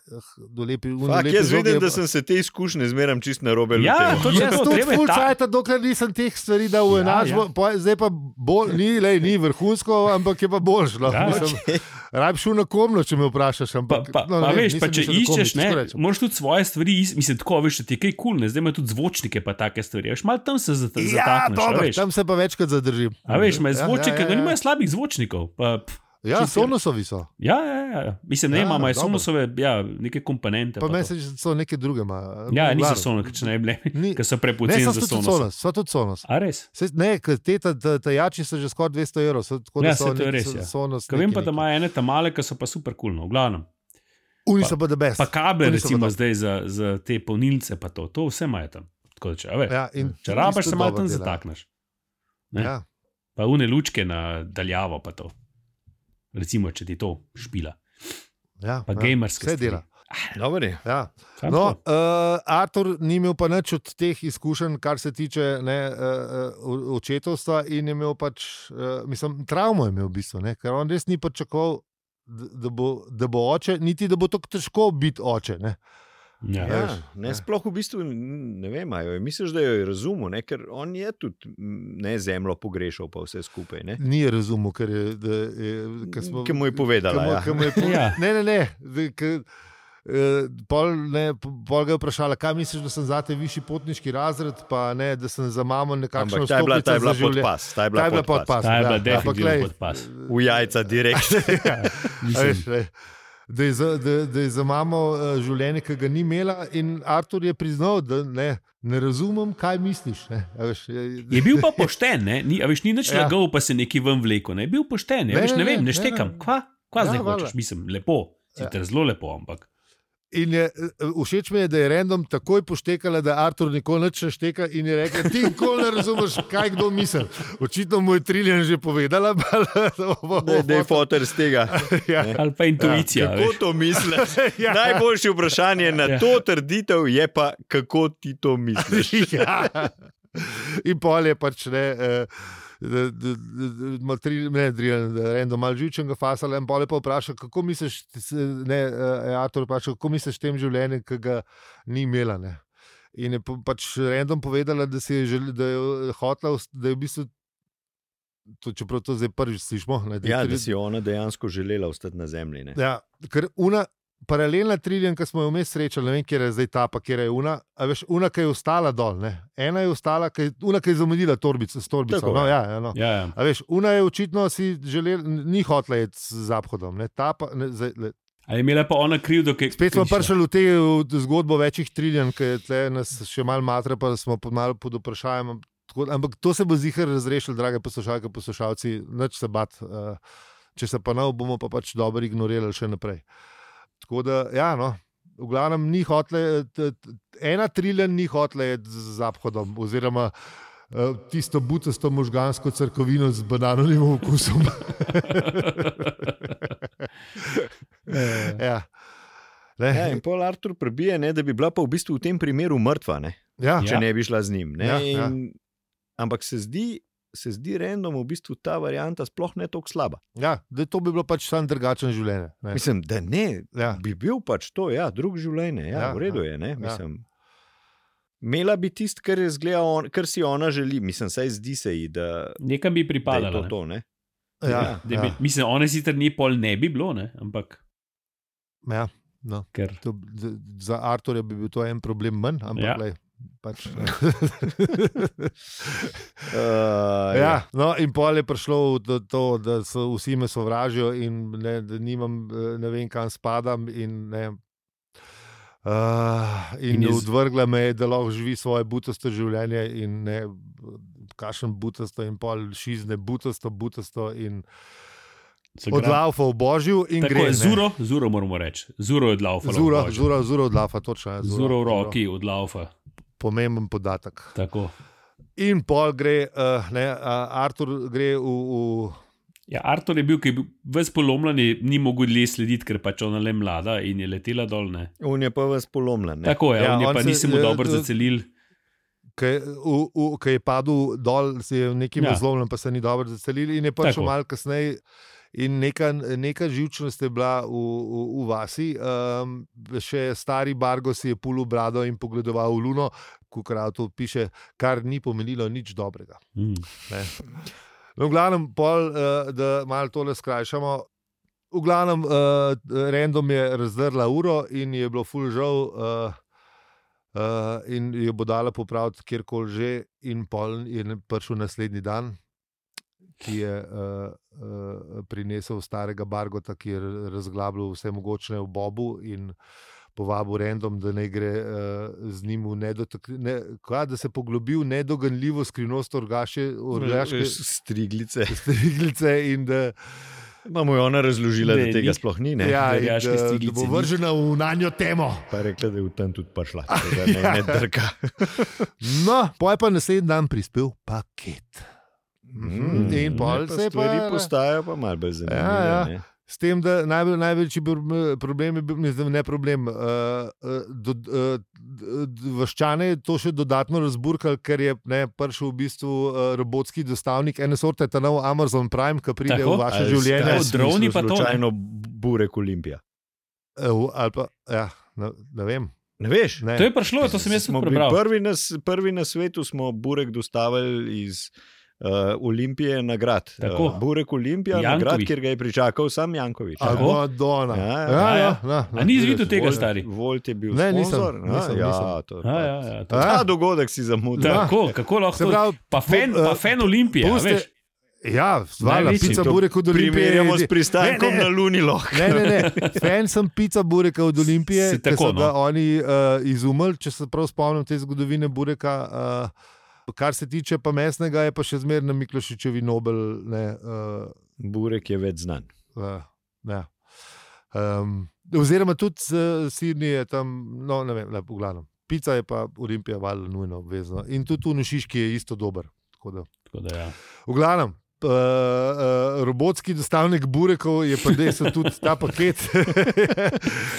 Speaker 2: dolepi,
Speaker 3: Fak,
Speaker 2: dolepi
Speaker 3: jaz
Speaker 2: žogi je
Speaker 3: vidim,
Speaker 2: pa-
Speaker 3: da sem se te izkušnje zmeram čist na robe
Speaker 1: Ja,
Speaker 3: lotil.
Speaker 1: to- Točno
Speaker 2: Jaz tudi
Speaker 1: treba je
Speaker 2: full
Speaker 1: ta-
Speaker 2: cajt, dokler nisem teh stvari dal v
Speaker 1: Ja,
Speaker 2: enačbo,
Speaker 1: ja.
Speaker 2: ja, ja. zdaj pa bolj, ni, lej, ni vrhunsko, ampak je pa boljš. No.
Speaker 1: Ja.
Speaker 2: Ja, Rab šel na komno, če me vprašaš.
Speaker 1: Pa,
Speaker 2: Ampak,
Speaker 1: pa,
Speaker 2: no,
Speaker 1: pa
Speaker 2: ne,
Speaker 1: veš,
Speaker 2: nisem
Speaker 1: pa če
Speaker 2: šel na Komno,
Speaker 1: iščeš,
Speaker 2: težko
Speaker 1: ne,
Speaker 2: rečem.
Speaker 1: moraš tudi svoje stvari, iz- mislim, tako veš, da ti je kaj kul, cool, zdaj imaš tudi zvočnike, pa take stvari. Veš, malo tam se zata-
Speaker 2: Ja,
Speaker 1: zatakneš. a
Speaker 2: dobro,
Speaker 1: veš,
Speaker 2: tam se pa večkrat zadržim.
Speaker 1: a veš, imaš
Speaker 2: Ja,
Speaker 1: zvočnike,
Speaker 2: ja,
Speaker 1: ja,
Speaker 2: ja, ja.
Speaker 1: nimajo slabih zvočnikov. Pa, pf,
Speaker 2: Ja,
Speaker 1: Čisto.
Speaker 2: sonosovi so.
Speaker 1: ja, ja, ja, ja, mislim, ne
Speaker 2: Ja,
Speaker 1: vem, ja, imajo
Speaker 2: dobro.
Speaker 1: sonusove, ja, neke komponente.
Speaker 2: Pa
Speaker 1: Pa
Speaker 2: meni
Speaker 1: to.
Speaker 2: se že so neke druge. Ma,
Speaker 1: ja, niso sonosi, če ne bi bile,
Speaker 2: Ni-
Speaker 1: ker so
Speaker 2: Ne,
Speaker 1: prepoceni
Speaker 2: so
Speaker 1: za
Speaker 2: tudi
Speaker 1: sonos.
Speaker 2: sonos. So tudi sonos.
Speaker 1: A res?
Speaker 2: Se, ne, ker te ta, ta, ta jači so že skoraj 200 evrov. So, tako, da
Speaker 1: Ja,
Speaker 2: so
Speaker 1: saj to je
Speaker 2: neki
Speaker 1: res,
Speaker 2: so-
Speaker 1: ja.
Speaker 2: Sonos,
Speaker 1: Ker vem pa, da imajo ene tam male, ki so pa super kulno, cool, no, v glavnem.
Speaker 2: Uni
Speaker 1: pa-
Speaker 2: so pa da best.
Speaker 1: Pa kable,
Speaker 2: Oni so pa
Speaker 1: recimo,
Speaker 2: dobro.
Speaker 1: zdaj za, za te polnilce, pa to, to vse imajo tam. Tako da, če, a veš,
Speaker 2: Ja, in
Speaker 1: če rabaš,
Speaker 2: isto
Speaker 1: se malo
Speaker 2: dobro
Speaker 1: tam
Speaker 2: delajo.
Speaker 1: zatakneš. Ne?
Speaker 2: Ja.
Speaker 1: pa une lučke na daljavo, pa to. Recimo, če ti to špila,
Speaker 2: Ja,
Speaker 1: pa
Speaker 2: ja.
Speaker 1: ja, gamerske.
Speaker 2: Vse
Speaker 1: stvari.
Speaker 2: dela.
Speaker 3: Dobro je.
Speaker 2: Ja.
Speaker 1: Samo
Speaker 2: No,
Speaker 1: to.
Speaker 2: uh, Artur ni imel pa nič od teh izkušenj, kar se tiče ne, uh, uh, očetovstva, in je imel pač, uh, mislim, travmo je imel v bistvu, ne, ker on res ni pričakoval, da, da, bo, da bo oče, niti da bo tako težko biti oče. Ne.
Speaker 1: Ja.
Speaker 2: Ja.
Speaker 1: Ja.
Speaker 3: Ja, ne, sploh v bistvu n- ne vem, ali misliš, da jo je razumel, ne, ker on je tudi m, ne zemljo pogrešal, pa vse skupaj. Ne.
Speaker 2: Ni razumel, ker je, da, je, ker smo,
Speaker 3: Ki mu je povedala, ja.
Speaker 2: Kaj mu je povedala?
Speaker 1: Ja.
Speaker 2: Ne, ne, ne. da- ke, eh, Pol, ne, pol ga je vprašala, kaj misliš, da sem za te višji potniški razred, pa ne, da sem za mamo nekakšno
Speaker 3: ampak ta je bila, ta je bila
Speaker 2: za življenje.
Speaker 3: podpas, ta
Speaker 2: Ta
Speaker 3: je bila,
Speaker 2: je bila
Speaker 3: podpas.
Speaker 2: podpas.
Speaker 1: Ta je bila
Speaker 2: ja. Ampak,
Speaker 1: definitivno
Speaker 2: glej,
Speaker 1: pod pas.
Speaker 3: V jajca direkt.
Speaker 2: a
Speaker 1: Mislim,
Speaker 2: veš, glej, Da je, za, da, da je za mamo eh, življenje, ki ga ni imela, in Artur je priznal, da ne, ne razumem, kaj misliš. Ne, a veš, je,
Speaker 1: Je bil pa pošten, ne? Ni, a veš, ni nič
Speaker 2: Ja.
Speaker 1: ja. lagal, pa se neki ven vleko. Ne? Je bil pošten, ne,
Speaker 2: Ne,
Speaker 1: veš,
Speaker 2: ne,
Speaker 1: ne
Speaker 2: ne,
Speaker 1: vem,
Speaker 2: ne,
Speaker 1: ne štekam.
Speaker 2: ne.
Speaker 1: Kva, kva
Speaker 2: Ja,
Speaker 1: zdaj
Speaker 2: valjda.
Speaker 1: hočeš, mislim, lepo.
Speaker 2: Ja.
Speaker 1: Sicer zelo lepo, ampak.
Speaker 2: In je, eh, všeč mi je, da je random takoj poštekala, da Artur nikoli ne šteka in je rekla: Ti nikoli ne razumeš, kaj kdo misli. Očitno mu je Triljan že povedala, pa, da bo
Speaker 3: Da je- Da je fotor iz tega.
Speaker 2: Ja.
Speaker 1: Ali pa intuicija. Ja,
Speaker 3: Kako to misliš?
Speaker 2: Ja.
Speaker 3: Najboljše vprašanje na
Speaker 1: Ja.
Speaker 3: to trditev je pa, kako ti to misliš.
Speaker 2: ja. In pol je pač ne. eh, da- da- da- da- ma Tri, ne, Triljan, da je random malo živčnega fasala, in pol je pa vprašal, kako misliš, ti se- ne, eh, Artur, vprašal, kako misliš tem življenjem, ki ga ni imela. Ne? In je po- pač random povedala, da, si je žel, da je hotla, ust- da je v bistvu. To, čeprav to zdaj prvič slišimo, ne,
Speaker 3: Ja,
Speaker 2: je
Speaker 3: da si je ona dejansko želela ostati na zemlji. Ne?
Speaker 2: Ja, ker una paralelna triljen, ki smo jo vmes srečali, ne vem, kje je zdaj ta, pa kje je una. A veš, una, ki je ostala dol, ne? ena je ostala, ki je, una, ki je zamudila torbico, s torbico.
Speaker 3: Tako,
Speaker 2: no,
Speaker 3: ja.
Speaker 2: ja, ja, no.
Speaker 1: ja, ja.
Speaker 2: A veš, una je očitno si želela, ni hotla je z zahodom. Ne? Ta pa, ne, zdaj, le,
Speaker 1: Ali je imela pa ona krivdo, ki je.
Speaker 2: spet smo prišli v te v zgodbo večjih triljen, ki je tle nas še malo matra, pa smo pod, malo pod vprašanjem. Tako, ampak to se bo zihar razrešilo, drage poslušalke, poslušalci, noč se bat. Uh, če se pa ne, bomo pa pač dobro ignorirali še naprej. Tako da, ja, no, v glavnem ni eh, hotle, t- t- ena triljen ni hotle z zahodom, oziroma eh, tisto butasto možgansko crkovino z bananovim okusom. ja.
Speaker 3: Ja,
Speaker 2: Ne,
Speaker 3: in pol Artur prebije, ne, da bi bila pa v bistvu v tem primeru mrtva, ne,
Speaker 2: ja,
Speaker 3: če
Speaker 1: Ja.
Speaker 3: ne bi šla z njim. Ne,
Speaker 2: Ja,
Speaker 3: in,
Speaker 2: ja.
Speaker 3: Ampak se zdi, se zdi random v bistvu ta varianta sploh ne tako slaba.
Speaker 2: ja, da to bi bilo pač samo drugačno življenje. ne.
Speaker 3: Mislim, da ne,
Speaker 2: Ja.
Speaker 3: bi bil pač to, ja, drug življenje, ja,
Speaker 2: Ja,
Speaker 3: ja, v redu
Speaker 2: ja,
Speaker 3: je. Ne, mislim, Mela bi tisto, kar, je izgleda on, kar si ona želi, mislim, saj zdi se ji, da,
Speaker 1: Nekam bi
Speaker 3: da je
Speaker 1: pripadalo.
Speaker 3: to.
Speaker 1: ne.
Speaker 3: to ne.
Speaker 2: Ja,
Speaker 1: Da bi,
Speaker 2: ja,
Speaker 1: Mislim, ona sicer ni pol ne bi bilo, ne? ampak
Speaker 2: ja.
Speaker 1: ker.
Speaker 2: To, d- za Arturja bi bil to en problem manj, ampak ja.
Speaker 1: Ja.
Speaker 2: lej, pač.
Speaker 3: Uh, ja.
Speaker 2: ja, no, in pol je prišlo v to, to da so vsi me sovražijo in ne, da nimam, eh, ne vem, kam spadam. In, ne, uh, in,
Speaker 1: In
Speaker 2: in
Speaker 1: je
Speaker 2: iz...
Speaker 1: z-
Speaker 2: odvrgla me je, da lahko živi svoje butosto življenje in ne, kašem butosto in pol šizne, butosto, butosto in
Speaker 1: so gra-
Speaker 2: odlaufa v božju in
Speaker 1: Tako
Speaker 2: gre.
Speaker 1: je,
Speaker 2: ne.
Speaker 1: zuro, zuro moramo reči. Zuro je odlaufal.
Speaker 2: Zuro, zuro, zuro od lafa, točno. ja,
Speaker 1: Zuro v roki odlaufa.
Speaker 2: Pomemben podatek.
Speaker 1: Tako.
Speaker 2: In pol gre, uh, ne, uh, Artur gre v. v
Speaker 1: Ja, Artur je bil, ki je bil ves polomljen, je- ni mogel le slediti, ker pač ona le mlada in je letela dol. Ne?
Speaker 3: On je pa vas polomljen. ne.
Speaker 1: Tako je,
Speaker 2: Ja,
Speaker 1: ja, on je
Speaker 2: on
Speaker 1: pa
Speaker 2: se-
Speaker 1: nisem mu
Speaker 2: eh,
Speaker 1: dobro
Speaker 2: eh,
Speaker 1: zacelil.
Speaker 2: Ki v- v- ki je padel dol, se je nekaj ja.
Speaker 1: Ja.
Speaker 2: zlomljen, pa se ni dobro zacelil, in je prišel
Speaker 1: Tako.
Speaker 2: malo kasneje. In neka, neka živčnost je bila v, v, v vasi. Um, še stari Bargo si je pulil brado in pogledoval v Luno, kukaratu piše, kar ni pomenilo nič dobrega.
Speaker 1: Mm.
Speaker 2: No, v glavnem, pol, uh, da malo tole skrajšamo. V glavnem, uh, random je razdrla uro in ji je bilo ful žal. Uh, Uh, in jo bo dala popraviti, kjerkoli že, in pol je na- prišel naslednji dan, ki je uh, uh, prinesel starega Bargota, ki je r- razglabljal vse mogoče v Bobu in povabil Rendom, da ne gre uh, z njim v nedotaknjeno, ne, kva, da se poglobi v nedoganljivo skrivnost orgaše, orgaške,
Speaker 3: Striglice.
Speaker 2: striglice in da,
Speaker 3: Mamo je ona razložila,
Speaker 1: Ne,
Speaker 3: da tega
Speaker 1: ni.
Speaker 3: sploh ni. Ne?
Speaker 2: ja, in da,
Speaker 1: orjaške
Speaker 2: da
Speaker 1: striglice
Speaker 2: bo
Speaker 1: ni.
Speaker 2: vržena v nanjo temo.
Speaker 3: Pa je rekla, da je v tem tudi prišla, da ne, ne drka.
Speaker 2: No, poj pa naslednji dan prispel paket.
Speaker 3: Mm,
Speaker 2: In pol se je pa-
Speaker 3: stvari postajajo pa malo bolj zanimive.
Speaker 2: Ja, ja.
Speaker 3: ne.
Speaker 2: S tem, da najbolj, največji br- problem je bil, mislim, ne problem. Uh, do, uh, Vaščane je to še dodatno razburkal, ker je ne, prišel v bistvu uh, robotski dostavnik ene sorte, ta nov Amazon Prime, ki pride
Speaker 1: Tako?
Speaker 2: v vaše
Speaker 3: Ali
Speaker 2: življenje.
Speaker 1: kaj?
Speaker 3: sta v
Speaker 1: droni
Speaker 3: smislu
Speaker 1: pa to ne.
Speaker 3: Slučajno burek Olimpija.
Speaker 2: Uh, ali pa, ja, ne, ne vem.
Speaker 3: Ne veš?
Speaker 2: Ne.
Speaker 1: To je prišlo, to sem jaz
Speaker 3: Smo
Speaker 1: tudi
Speaker 3: bili
Speaker 1: prebral.
Speaker 3: prvi, na, s- prvi na svetu smo burek dostavili iz uh, Olimpije na grad.
Speaker 1: Tako.
Speaker 3: Uh, burek Olimpija na
Speaker 1: Janković.
Speaker 3: grad, kjer ga je pričakal sam Janković.
Speaker 1: A
Speaker 3: Ja.
Speaker 1: bo?
Speaker 2: Madonna.
Speaker 3: Ja, ja,
Speaker 2: ja,
Speaker 1: ja.
Speaker 2: ja, ja.
Speaker 1: A ni izvidel
Speaker 2: vidiš,
Speaker 1: tega,
Speaker 2: Volt-
Speaker 1: stari?
Speaker 3: Volt je bil
Speaker 2: Ne, nisem,
Speaker 3: sponzor. a,
Speaker 2: nisem,
Speaker 3: ja,
Speaker 2: nisem.
Speaker 3: To,
Speaker 1: Ja, ja, ja, to-
Speaker 2: A?
Speaker 3: Ta dogodek si zamudil.
Speaker 2: Ah, Da.
Speaker 1: Tako, kako lahko
Speaker 2: Se
Speaker 1: to?
Speaker 2: pravi,
Speaker 1: Pa fen, pa
Speaker 2: eh,
Speaker 1: fen Olimpije, a
Speaker 2: puste-
Speaker 1: veš.
Speaker 2: ja, zvala,
Speaker 1: Največji.
Speaker 2: pica
Speaker 3: To
Speaker 2: burek od Olimpije. je
Speaker 3: Primerjamo s
Speaker 2: jedi-
Speaker 3: pristankom
Speaker 2: Ne, ne, ne.
Speaker 3: na Lunilo.
Speaker 2: Ne, ne, ne. Fan sem pica Bureka od Olimpije,
Speaker 1: Si
Speaker 2: ki
Speaker 1: tako,
Speaker 2: so ga
Speaker 1: no.
Speaker 2: oni uh, izumili, če se prav spomnim te zgodovine Bureka. Uh, kar se tiče pa mesnega, je pa še zmeraj na Miklošičevi Nobel. Ne, uh,
Speaker 3: Burek je več znan.
Speaker 2: uh, ne. Um, oziroma tudi uh, Sidney je tam, no ne vem, ne, v glavnem. Pica je pa Olimpija, valjda, nujno obvezno. In tudi v Nušiški je isto dober. Tako da
Speaker 1: Tako da ja.
Speaker 2: V glavnem. Uh, uh, robotski dostavnik Burekov je pa dejstvo tudi ta paket.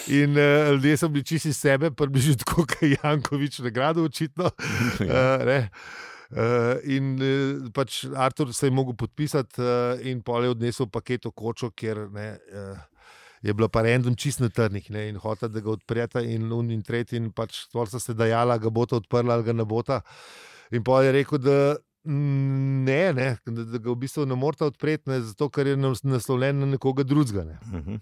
Speaker 2: In uh, ljudje so bili čisti sebe, približno tako, kot je Jankovič nagrado, očitno.
Speaker 3: Ja.
Speaker 2: Uh, ne. Uh, in uh, pač Artur se je mogel podpisati, uh, in pol je odnesel paket v kočo, kjer ne, uh, je bila pa random čist na trnih ne, in hotel, da ga odpreta, in un in tretji, in pač stvar sta se dajala, ga bota odprla ali ga ne bota. In pol je rekel, da. mm, Ne, ne, da, da ga v bistvu ne morete odpreti, ne, zato ker je nas- naslovljen na nekoga drugega. Ne.
Speaker 3: Mhm.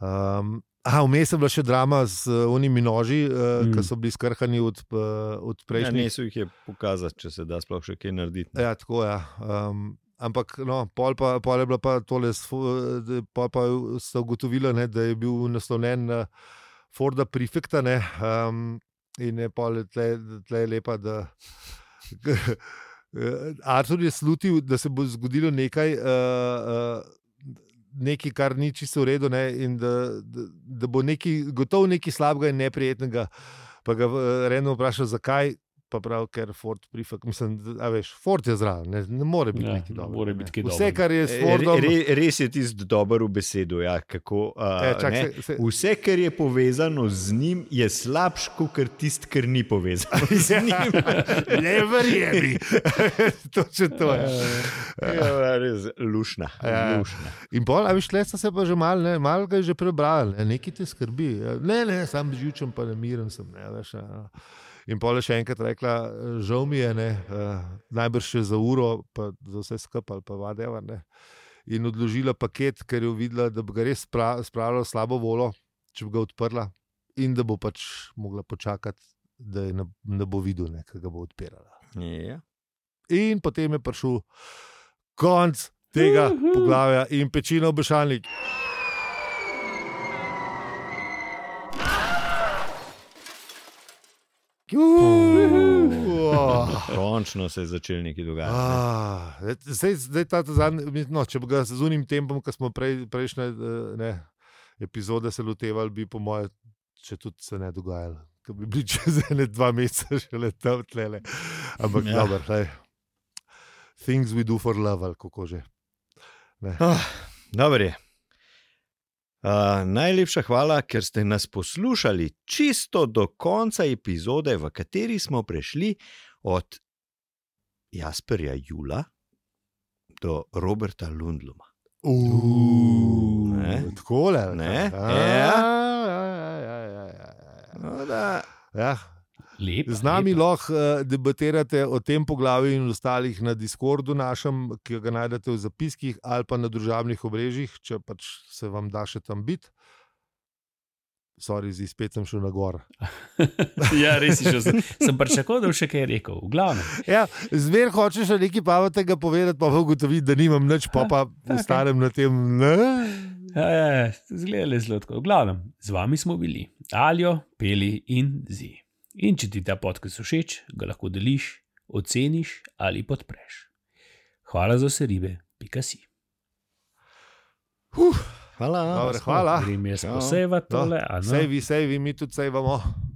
Speaker 2: Um, a vmes je bila še drama z uh, unimi noži, uh, mm.
Speaker 1: Mm.
Speaker 2: ki so bili skrhani od, uh, od
Speaker 3: Ja,
Speaker 2: prejšnjih.
Speaker 3: ne so jih je pokazati, če se da sploh še kaj narediti.
Speaker 2: Ja, tako je. Ja. Um, ampak no, pol, pa, pol je bila pa tole, s fo- da- pol pa sta ugotovila, ne, da je bil naslovljen na Forda Prefekta. Ne, um, in je pol je tle, tle je lepa, da. eh, Artur je slutil, da se bo zgodilo nekaj, uh, uh, nekaj kar ni čisto v redu, ne, in da, da, da bo nekaj, gotovo nekaj slabega in neprijetnega. Pa ga redno vprašal, zakaj, pa prav, ker Ford, prifak, mislim, da- a veš, Ford je zraven, ne, ne more biti
Speaker 1: Ja,
Speaker 2: nekaj
Speaker 1: ne
Speaker 2: dobrega,
Speaker 1: more
Speaker 2: ne.
Speaker 1: biti kaj
Speaker 2: Vse,
Speaker 1: dobrega.
Speaker 2: kar je s
Speaker 3: E,
Speaker 2: Fordom,
Speaker 3: Re, re, res je tisti dober v besedu. Ja, kako, a,
Speaker 2: E, čak,
Speaker 3: ne?
Speaker 2: se- se-
Speaker 3: Vse, kar je povezano z njim, je slabš kot tisto, kar ni povezano z njim.
Speaker 2: ne verjemi.
Speaker 1: Ja.
Speaker 2: Točno to je.
Speaker 3: Ja, res lušna.
Speaker 2: Ja.
Speaker 3: lušna.
Speaker 2: In pol, a veš, le sta se pa že malo, ne, malo ga je že prebrali, ne, nekaj te skrbi. ja. Ne, ne, sam živčen, pa nemiren sem. Ne, veš, ja. In pol je še enkrat rekla, žal mi je, ne, eh, najbrž še za uro, pa za vse skupaj, ali pa vadeva. Ne. In odložila paket, ker je videla, da bi ga res spra- spravila v slabo volo, če bi ga odprla, in da bo pač mogla počakati, da je ne, ne bo videl, ne, kaj ga bo odpirala.
Speaker 3: Ja.
Speaker 2: In potem je prišel konc tega
Speaker 1: Uhu.
Speaker 2: poglavja in pečino obešalnik.
Speaker 3: Končno se je začel nekaj dogajati. ne.
Speaker 2: Ah, zdaj, zdaj ta ta zadnji, mi- no, če bi ga z unim tempom, ki smo prej, prejšnje eh, ne, epizode se lotevali, bi po mojem, če tudi se ne dogajalo. To bi bili čez ene dva meseca še le tam tlele. Ampak ja.
Speaker 3: Ja.
Speaker 2: dobro, lej. things we do for love, ali kako že.
Speaker 3: Ah, Dobro je. Uh, najlepša hvala, ker ste nas poslušali čisto do konca epizode, v kateri smo prešli od Jasperja Jula do Roberta Lundluma.
Speaker 2: Uuu,
Speaker 3: Ne.
Speaker 2: Tako le.
Speaker 3: Ne.
Speaker 2: Ja,
Speaker 3: Ja.
Speaker 2: ja, ja, ja, ja, ja.
Speaker 3: No, da,
Speaker 2: Ja,
Speaker 1: Lepa,
Speaker 2: Z nami
Speaker 1: lepa.
Speaker 2: lahko eh, debatirate o tem poglavju in ostalih na Discordu, našem, ki ga najdete v zapiskih ali pa na družabnih omrežjih, če pač se vam da še tam biti. Sorry, zdaj spet sem šel na gor.
Speaker 1: ja, res je. Sem, sem pričakoval, da bo še kaj rekel. V glavnem.
Speaker 2: Ja, zmer hočeš še nekaj pametnega povedati, pa pa ugotoviš, da nimam nič, pa pa ostanem na tem. Ne?
Speaker 1: Ja, ja, ja, Zgledali zelo tako. V glavnem, z vami smo bili, alijo, peli in zi. In če ti ta podcast všeč, ga lahko deliš, oceniš ali podpreš. Hvala za vse ribe, pika si.
Speaker 3: hvala.
Speaker 2: Dobre, hvala.
Speaker 1: Grem jaz
Speaker 3: Čau.
Speaker 1: poseva
Speaker 2: No,
Speaker 1: tole, a no. ne.
Speaker 2: Sej vi, sej vi, mi tudi sej vamo.